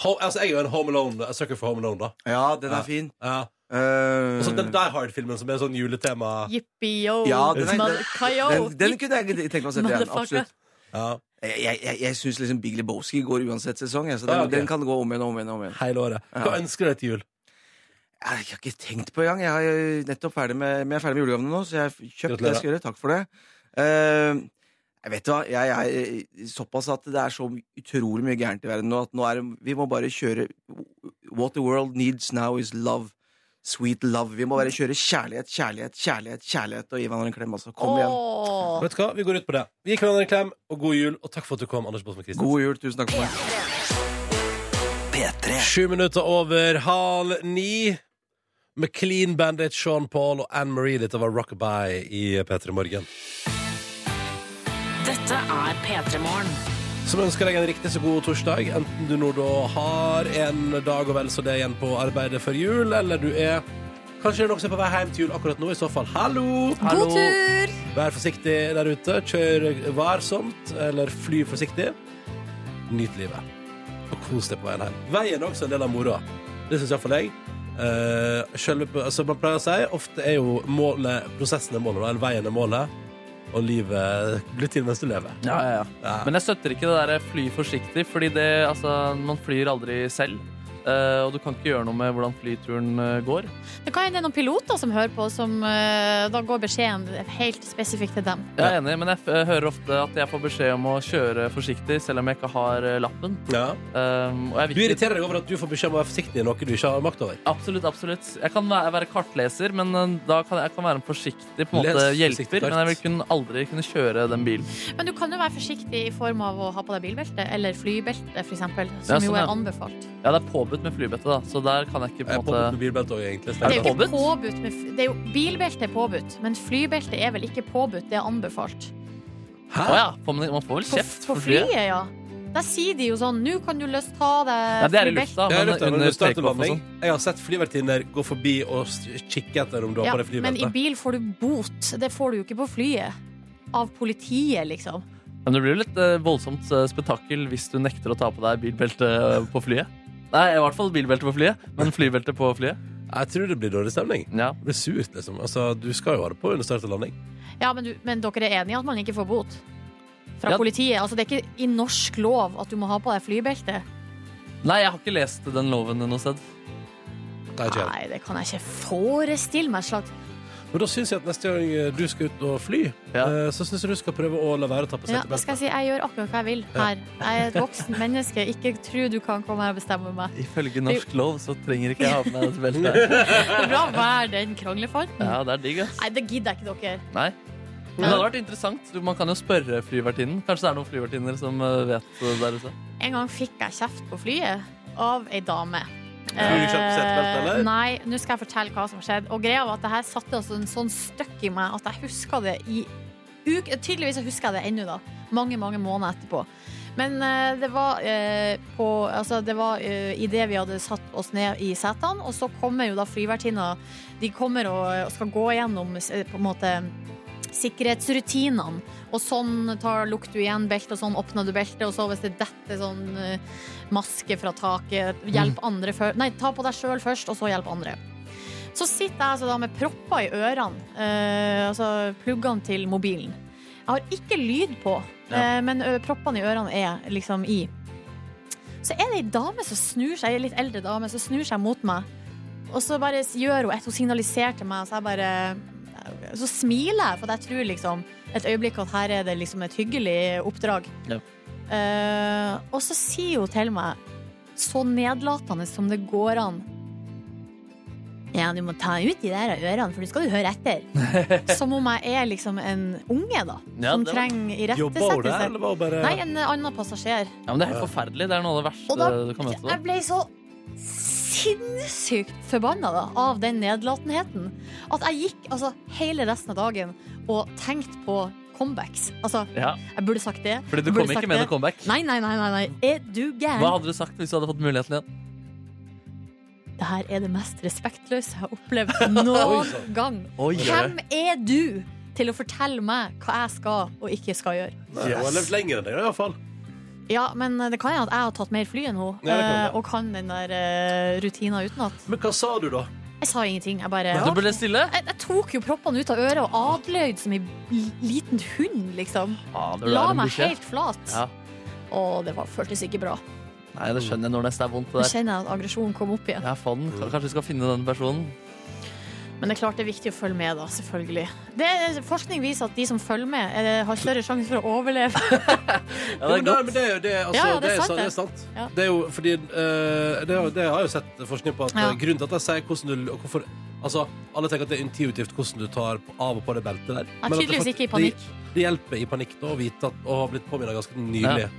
B: altså, jeg er jo en Home Alone, jeg søker for Home Alone, da.
K: Ja, den er fin.
B: Ja.
K: Eh,
B: Og så den Die Hard-filmen som er sånn juletema.
D: Yippee-yo,
K: Ja, den, er,
D: mother- kayo.
K: den, den, den kunne jeg tenkt meg å sette igjen.
D: Motherfucker.
K: Absolutt. Jeg, jeg, jeg, jeg syns liksom Big Lebowski går uansett sesong. Jeg, så den,
B: Ja, ok.
K: den kan gå om igjen og om igjen. og om igjen
B: Hele året. Hva
K: Ja.
B: ønsker du deg til jul?
K: Jeg har ikke tenkt på engang. Jeg, har jo nettopp ferdig med, men jeg er ferdig med julegavene nå, så jeg har kjøpt det
B: Gratulerer.
K: jeg skal gjøre. Takk for det. Eh, jeg vet hva, jeg er eh, såpass at det er så utrolig mye gærent i verden nå at nå er det, vi må bare kjøre What the world needs now is love. Sweet love. Vi må bare kjøre kjærlighet, kjærlighet, kjærlighet kjærlighet og gi hverandre en klem. altså. Kom igjen.
B: Vet du hva, Vi går ut på det. Vi gir hverandre en klem, og god jul, og takk for at du kom. Anders Båsmo Christensen.
K: God jul. Tusen takk for meg.
B: Sju minutter over halv ni. McLean Bandit, Sean Paul og Anne Marie. Dette var Rockabye i P3 Morgen.
A: Dette er P3 Morgen.
B: Som ønsker deg en riktig så god torsdag, enten du nå da har en dag og vel så det igjen på arbeidet før jul, eller du er Kanskje det er noen som er på vei hjem til jul akkurat nå. I så fall, hallo!
D: God tur!
B: Vær forsiktig der ute. Kjør varsomt, eller fly forsiktig. Nyt livet. Og kos deg på veien hjem. Veien er også en del av moroa. Det syns iallfall jeg. Eh, selve, altså man pleier å si ofte er jo målet, prosessen er målet, da, eller veien er målet. Og livet blir til mens du lever.
E: Ja, ja, ja. Men jeg støtter ikke det der fly forsiktig, fordi det, altså, man flyr aldri selv. Eh, og du kan ikke gjøre noe med hvordan flyturen eh, går.
D: Det kan hende det er noen piloter som hører på, som eh, da går beskjeden helt spesifikt til dem.
E: Jeg er enig, men jeg f eh, hører ofte at jeg får beskjed om å kjøre forsiktig, selv om jeg ikke har eh, lappen. Um, og jeg vil
B: Du
E: ikke-
B: irriterer deg over at du får beskjed om å være forsiktig i noe du ikke har makt over.
E: Absolutt, absolutt. Jeg kan være, være kartleser, men eh, da kan jeg, jeg kan være en forsiktig på en
B: Les
E: måte
B: forsiktig
E: hjelper.
B: kart.
E: Men jeg vil kun, aldri kunne kjøre den bilen.
D: Men du kan jo være forsiktig i form av å ha på deg bilbelte, eller flybelte, for eksempel,
E: Ja,
D: som
E: sånn,
D: jo
E: ja.
D: er anbefalt.
E: Ja, det er påbudt med flybete, da, så der kan jeg ikke på en måte
B: Påbudt med bilbelte òg, egentlig.
E: Er
D: Det er
E: det
D: jo ikke
E: påbudt?
D: påbudt med, f- det er jo, bilbelte er påbudt, men flybelte er vel ikke påbudt, det er anbefalt.
E: Å ja, får man, man får vel
D: På,
E: kjeft
D: på
E: for flyet?
D: flyet, ja. Der sier de jo sånn Nå kan du løst ta
E: Ja,
D: deg
E: det er i
D: flybeltet».
E: lufta,
B: Jeg har,
E: men
B: lyst til å-
E: under
B: når du starter
E: takeoff og
B: landing,
E: sånn.
B: jeg har sett flyvertinner gå forbi og s- kikke etter om du har
D: Ja,
B: på deg
D: men i
B: flybeltet.
D: bil får du bot. Det får du jo ikke på flyet. Av politiet, liksom.
E: Men det blir jo litt eh, voldsomt eh, spetakkel hvis du nekter å ta på deg bilbelte eh, på flyet. Nei, i hvert fall bilbelte på flyet, men flybelte på flyet.
B: Jeg tror det blir dårlig stemning.
E: Ja.
B: Det blir surt, liksom. Altså, du skal jo ha det på under start og landing.
D: Ja, men, du, men dere er enige i at man ikke får bot? fra
E: Ja.
D: politiet. Altså, det er ikke i norsk lov at du må ha på deg flybelte.
E: Nei, jeg har ikke lest den loven noe sted.
D: Nei, det kan jeg ikke forestille meg. Slags.
B: Men da syns jeg at neste gang eh, du skal ut og fly, eh, så syns jeg du skal prøve å la være å ta på
D: Ja, da
B: setebeltet.
D: skal jeg si jeg gjør akkurat hva jeg vil
B: Ja.
D: her. Jeg er et voksen menneske. Ikke tro du kan komme her og bestemme meg.
E: Ifølge norsk lov så trenger ikke jeg ha på meg dette
B: (laughs)
E: beltet.
D: Det er bra å være den kranglefanten.
E: Ja, det er digg, ass.
D: Nei, det gidder jeg ikke dere.
E: Nei. Men det hadde vært interessant. Du- Man kan jo spørre flyvertinnen. Kanskje det er noen flyvertinner som eh, vet det der ute.
D: En gang fikk jeg kjeft på flyet av ei dame.
E: Tror du ikke at du setter belte, eller?
D: Eh, Nei, nå skal jeg fortelle hva som skjedde. Og greia var at det her satte altså en sånn støkk i meg at jeg huska det i uk Tydeligvis så husker jeg det ennå, da. Mange, mange måneder etterpå. Men eh, det var eh, på Altså, det var eh, i idet vi hadde satt oss ned i setene, og så kommer jo da flyvertinna De kommer og, og skal gå gjennom eh, på en måte sikkerhetsrutinene. Og sånn tar, lukker du igjen beltet, og sånn åpner du beltet, og så hvis det detter sånn eh, maske fra taket, hjelp andre før Nei, ta på deg sjøl først, og så hjelp andre. Så sitter jeg altså da med propper i ørene, eh, altså pluggene til mobilen. Jeg har ikke lyd på, eh, men ø, proppene i ørene er liksom i. Så er det ei dame som snur seg, ei litt eldre dame, som snur seg mot meg. Og så bare gjør hun et, hun signaliserer til meg, så jeg bare Så smiler jeg, for jeg tror liksom et øyeblikk at her er det liksom et hyggelig oppdrag. Eh, og så sier hun til meg, så nedlatende som det går an Ja, du må ta ut de der ørene, for du skal du høre (laughs) etter. Som om jeg er liksom en unge, da.
E: Ja,
D: som
E: det var-
D: trenger
E: Jobba hun der,
D: irettesettelse.
E: eller var hun bare-
D: Nei, en annen passasjer.
E: Ja, men Det er helt forferdelig. Det er noe av det
D: Og
E: verste
D: da,
E: du kan møte.
D: jeg ble så sinnssykt forbanna da, av den nedlatenheten at jeg gikk altså, hele resten av dagen og tenkte på comebacks. Altså,
E: Ja.
D: jeg burde sagt det.
E: Fordi du
D: jeg
E: kom
D: burde
E: ikke
D: sagt
E: med
D: det.
E: noe comeback?
D: Nei, nei, nei. nei, nei. Er du
E: Hva
D: gæren?
E: hadde du sagt hvis du hadde fått muligheten igjen?
D: Det her er det mest respektløse jeg har
E: (laughs)
D: opplevd noen
E: sann.
D: gang.
E: Oi, ja.
D: Hvem er du til å fortelle meg hva jeg skal og ikke skal gjøre?
B: Nei, Hun har levd lenger enn deg, iallfall.
D: Ja, men det kan hende at jeg har tatt mer fly enn hun,
B: Ja, det kan
D: eh,
B: det.
D: og kan den der eh, rutina utenat.
B: Men hva sa du, da?
D: Jeg sa ingenting. Jeg bare
E: Du ble stille?
D: Jeg, jeg tok jo proppene ut av øret og adløyd som ei l- liten hund, liksom.
E: Fader, du er
D: La
E: en
D: meg
E: bikkje.
D: helt flat.
E: Ja.
D: Og det var, føltes ikke bra.
E: Nei, det skjønner jeg når nesten er vondt.
D: Nå
E: det der.
D: kjenner jeg at aggresjonen kom opp igjen.
E: Ja, faen. Kanskje vi skal finne den personen.
D: Men det er klart det er viktig å følge med, da. Selvfølgelig. Det, er- forskning viser at de som følger med, eh, har større sjanse for å
E: (laughs)
D: overleve.
B: Ja, men det, men det er jo det, altså,
D: Ja, ja,
B: det, er sant, det er sant.
D: Ja.
B: Det er jo fordi eh, det, har- det har jeg jo sett forskning på. At
D: Ja.
B: eh, Grunnen til at jeg sier hvordan du og hvorfor, altså, Alle tenker at det er intuitivt hvordan du tar på- av og på det beltet der. Men
D: Ja,
B: at det
D: tydeligvis
B: fakt-
D: ikke i panikk.
B: Det, det hjelper i panikk da å vite at å ha blitt påminnet ganske nylig
E: Ja.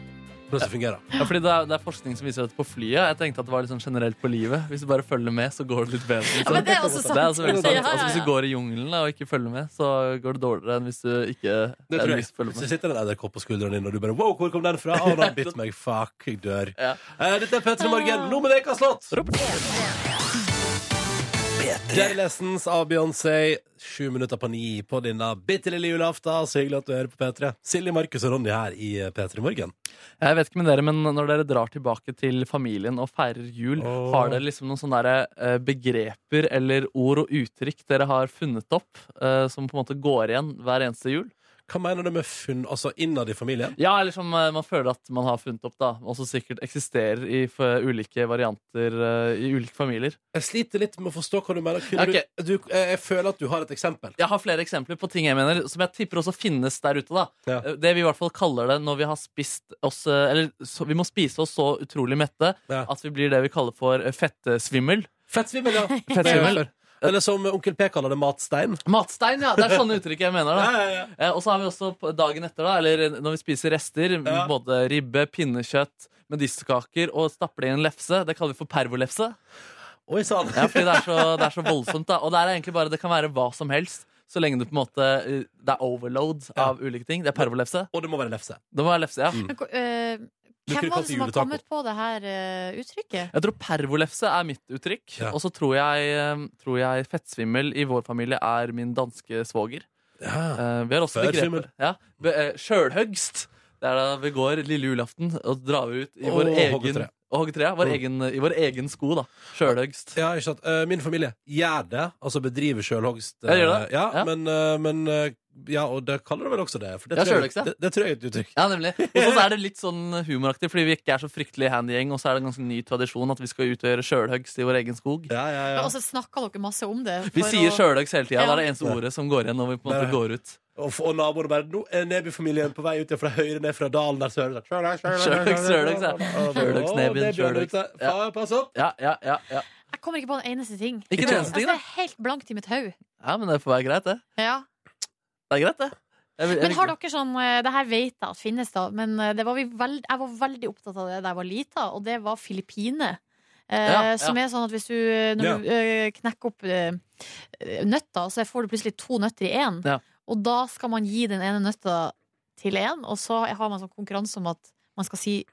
B: hvordan det fungerer.
E: Ja, fordi det er, det er forskning som viser dette på flyet. Jeg tenkte at det var litt sånn generelt på livet. Hvis du bare følger med, så går det litt bedre. liksom.
B: Ja, men det er også sant.
E: Det er altså veldig sant.
B: Ja, ja, ja.
E: Altså, hvis du går i jungelen da, og ikke følger med, så går det dårligere enn hvis du ikke
B: Det
E: enn
B: tror jeg.
E: hvis du følger
B: Så
E: med.
B: sitter det en edderkopp på skulderen din, og du bare Wow, hvor kom den fra? Å, den bitt meg. Fuck, jeg dør. Eh, dette er P3 Morgen. Nå med deg, Slott! Dead Lessons av Beyoncé. Sju minutter på ni på denne bitte lille julaften. Så hyggelig at du hører på P3. Silje, Markus og Ronny her i eh, P3 Morgen.
E: Jeg vet ikke med dere, men når dere drar tilbake til familien og feirer jul, har dere liksom noen sånne der, eh, begreper eller ord og uttrykk dere har funnet opp, eh, som på en måte går igjen hver eneste jul?
B: Hva mener du med funn, altså innad i familien?
E: Ja, eller som eh, man føler at man har funnet opp, da. Og som sikkert eksisterer i f ulike varianter eh, i ulike familier.
B: Jeg sliter litt med å forstå hva du mener. Kunne
E: Ok.
B: du, du, eh, jeg føler at du har et eksempel.
E: Jeg har flere eksempler på ting jeg mener som jeg tipper også finnes der ute. da Eh, Det vi i hvert fall kaller det når vi har spist oss eh, Eller så, vi må spise oss så utrolig mette at vi blir det vi kaller for eh, fettesvimmel.
B: Fettsvimmel, ja. Eh,
E: Fettsvimmel.
B: Eller som onkel P kaller det, matstein.
E: Matstein, ja. Det er
B: (laughs)
E: sånne uttrykk jeg mener. da Eh, Og så har vi også på dagen etter, da, eller eh, når vi spiser rester, både ribbe, pinnekjøtt, medisterkaker og stapper det i en lefse. Det kaller vi for pervolefse.
B: Oi sann!
E: Ja, fordi det er, så, det er så voldsomt, da. Og det er egentlig bare Det kan være hva som helst. Så lenge det på en måte eh, Det er overload av ulike ting. Det er pervolefse.
B: Og det må være lefse.
E: Det må være lefse, ja.
D: Men, hvor- eh,
E: Du
D: hvem var
E: kunne kalt
D: det
E: det
D: som har
E: juletaco.
D: kommet på det her eh, uttrykket?
E: Jeg tror pervolefse er mitt uttrykk. Og så tror jeg, eh, tror jeg fettsvimmel i vår familie er min danske svoger. Eh, Vi har også
B: Fettsvimmel.
E: begrepet ja. be, eh, Sjølhøgst. Det er da vi går lille julaften og drar ut i
B: Og
E: vår
B: hogger
E: egen
B: tre.
E: Å hogge treet. Vår egen, I vår egen sko, da. Sjølhøgst.
B: Ja, ikke sant. Eh, Min familie gjør det, altså bedriver sjølhogst. eh,
E: Ja, gjør det?
B: Ja,
E: Ja.
B: men, eh, men eh, Ja, og det kaller du vel også det? For det
E: Ja,
B: tror jeg-
E: sjølhogst, ja.
B: Det, det tror jeg er et uttrykk.
E: Ja, nemlig. Og så er det litt sånn humoraktig, fordi vi ikke er så fryktelig handygjeng, og så er det en ganske ny tradisjon at vi skal ut og gjøre sjølhøgst i vår egen skog.
D: Og så snakka dere masse om det.
E: Vi
D: for
E: sier
D: å-
E: sjølhøgst hele
D: Ja.
E: tida. Det er det eneste ordet som går igjen når vi på
B: Det
E: en
B: er
E: måte går ut.
B: Og, f- og naboene bare Nå er Neby-familien på vei ut igjen fra høyre ned fra dalen der søren. Sjølhøgst,
E: Sjølhøgst, sjølhøgst, ja. Sjølhøgst, Nebyen, sjølhøgst.
B: Faen, pass opp!
E: Ja, ja, ja, ja.
D: Jeg kommer ikke på en eneste ting.
E: Ikke en eneste
D: altså,
E: ting,
D: det er helt blankt i mitt hode.
E: ja, men det får være greit, det.
D: Ja.
E: Det er greit, det. Jeg vil- jeg
D: Men har
E: vil-
D: dere sånn eh, Det her vet jeg at finnes, da, men eh, det var vi veld, jeg var veldig opptatt av det da jeg var lita, og det var Filippine. Eh,
L: Ja, ja.
D: Som er sånn at hvis du, eh, når du eh, knekker opp eh, nøtta, så får du plutselig to nøtter i én.
E: Ja.
D: Og da skal man gi den ene nøtta til én, og så har man sånn konkurranse om at man skal si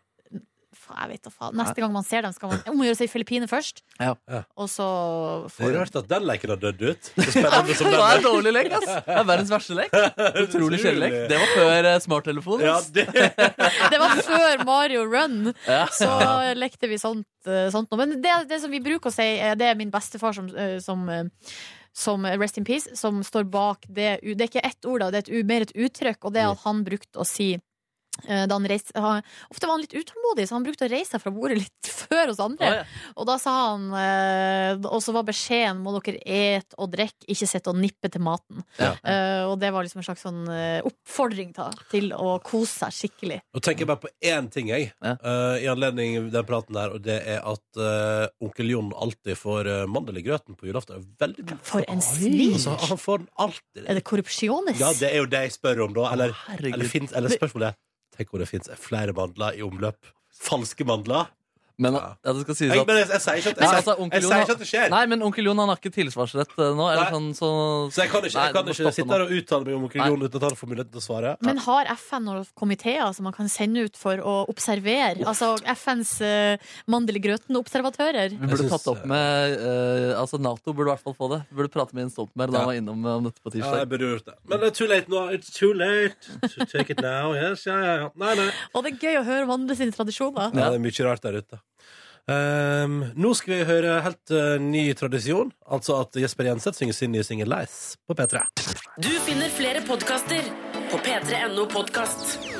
D: Faen, jeg vet da faen. Neste gang man ser dem, skal man om å gjøre seg i Filippine først,
B: Ja.
D: og så
B: Det er rart at den leken har dødd ut. Så spennende som
E: Det var en
B: den er.
E: dårlig lek, ass. Det er verdens verste
B: (laughs)
E: lek. Utrolig kjedelig lek. Det var før eh, smarttelefon. ass.
D: Det var før Mario Run.
E: Ja.
D: Så lekte vi sånt, eh, sånt noe. Men det, det som vi bruker å si, eh, det er min bestefar som, eh, som eh, som eh, Rest in Peace, som står bak det u- Det er ikke ett ord, da, det er et, u- mer et uttrykk, og det er at han brukte å si eh, da han reiste, han, ofte var han litt utålmodig, så han brukte å reise seg fra bordet litt (laughs) før oss andre.
L: Å, ja.
D: Og da sa han eh, Og så var beskjeden 'må dere et og drikke, ikke sitte og nippe til maten'.
B: Ja.
D: Eh, og det var liksom en slags sånn eh, oppfordring da, til å kose seg skikkelig.
B: Nå tenker jeg bare på én ting, jeg, eh, i anledning den praten der, og det er at eh, onkel Jon alltid får eh, mandel i grøten på julaften. Veldig
D: For en svin!
B: Altså, han får den alltid.
D: Er det korrupsjones?
B: Ja, det er jo det jeg spør om, da. Eller,
D: herregud.
B: eller, finnes, eller spørsmålet er Tenk om det fins flere mandler i omløp. Falske mandler.
E: Men, ja, det skal sies
B: jeg,
E: at-
B: men jeg, jeg, sier ikke at, jeg,
E: Nei,
B: sier-
E: altså, onkel
B: jeg
E: Jon
B: sier
E: har-
B: ikke at det skjer.
E: Nei, men onkel Jon han har ikke tilsvarsrett eh, nå. Eller sånn, så,
B: så jeg kan ikke,
E: Nei,
B: jeg kan
E: du må
B: ikke
E: stoppe
B: sitte
E: nå.
B: her og uttale meg om onkel Jon uten at han får muligheten til å svare.
D: Men har FN noen komiteer som man kan sende ut for å observere? Altså FNs eh, mandel i grøten-observatører?
E: Vi burde tatt opp med eh, Altså Nato burde i hvert fall få det. Vi burde prate med Jens Stoltenberg
B: Ja.
E: da han var innom eh, om dette på
B: Ja,
E: tirsdag.
B: jeg burde gjort det. Men det er too late nå. It's too late. To take it now. Yes, ja, ja, ja. Nei, nei.
D: Og det er gøy å høre om andre sine tradisjoner.
B: Ja, det er mye rart der ute. Ehm, nå skal vi høre helt eh, ny tradisjon, altså at Jesper Jenseth synger sin nye singel 'Leis' på P3.
A: Du finner flere podkaster på p3.no podkast.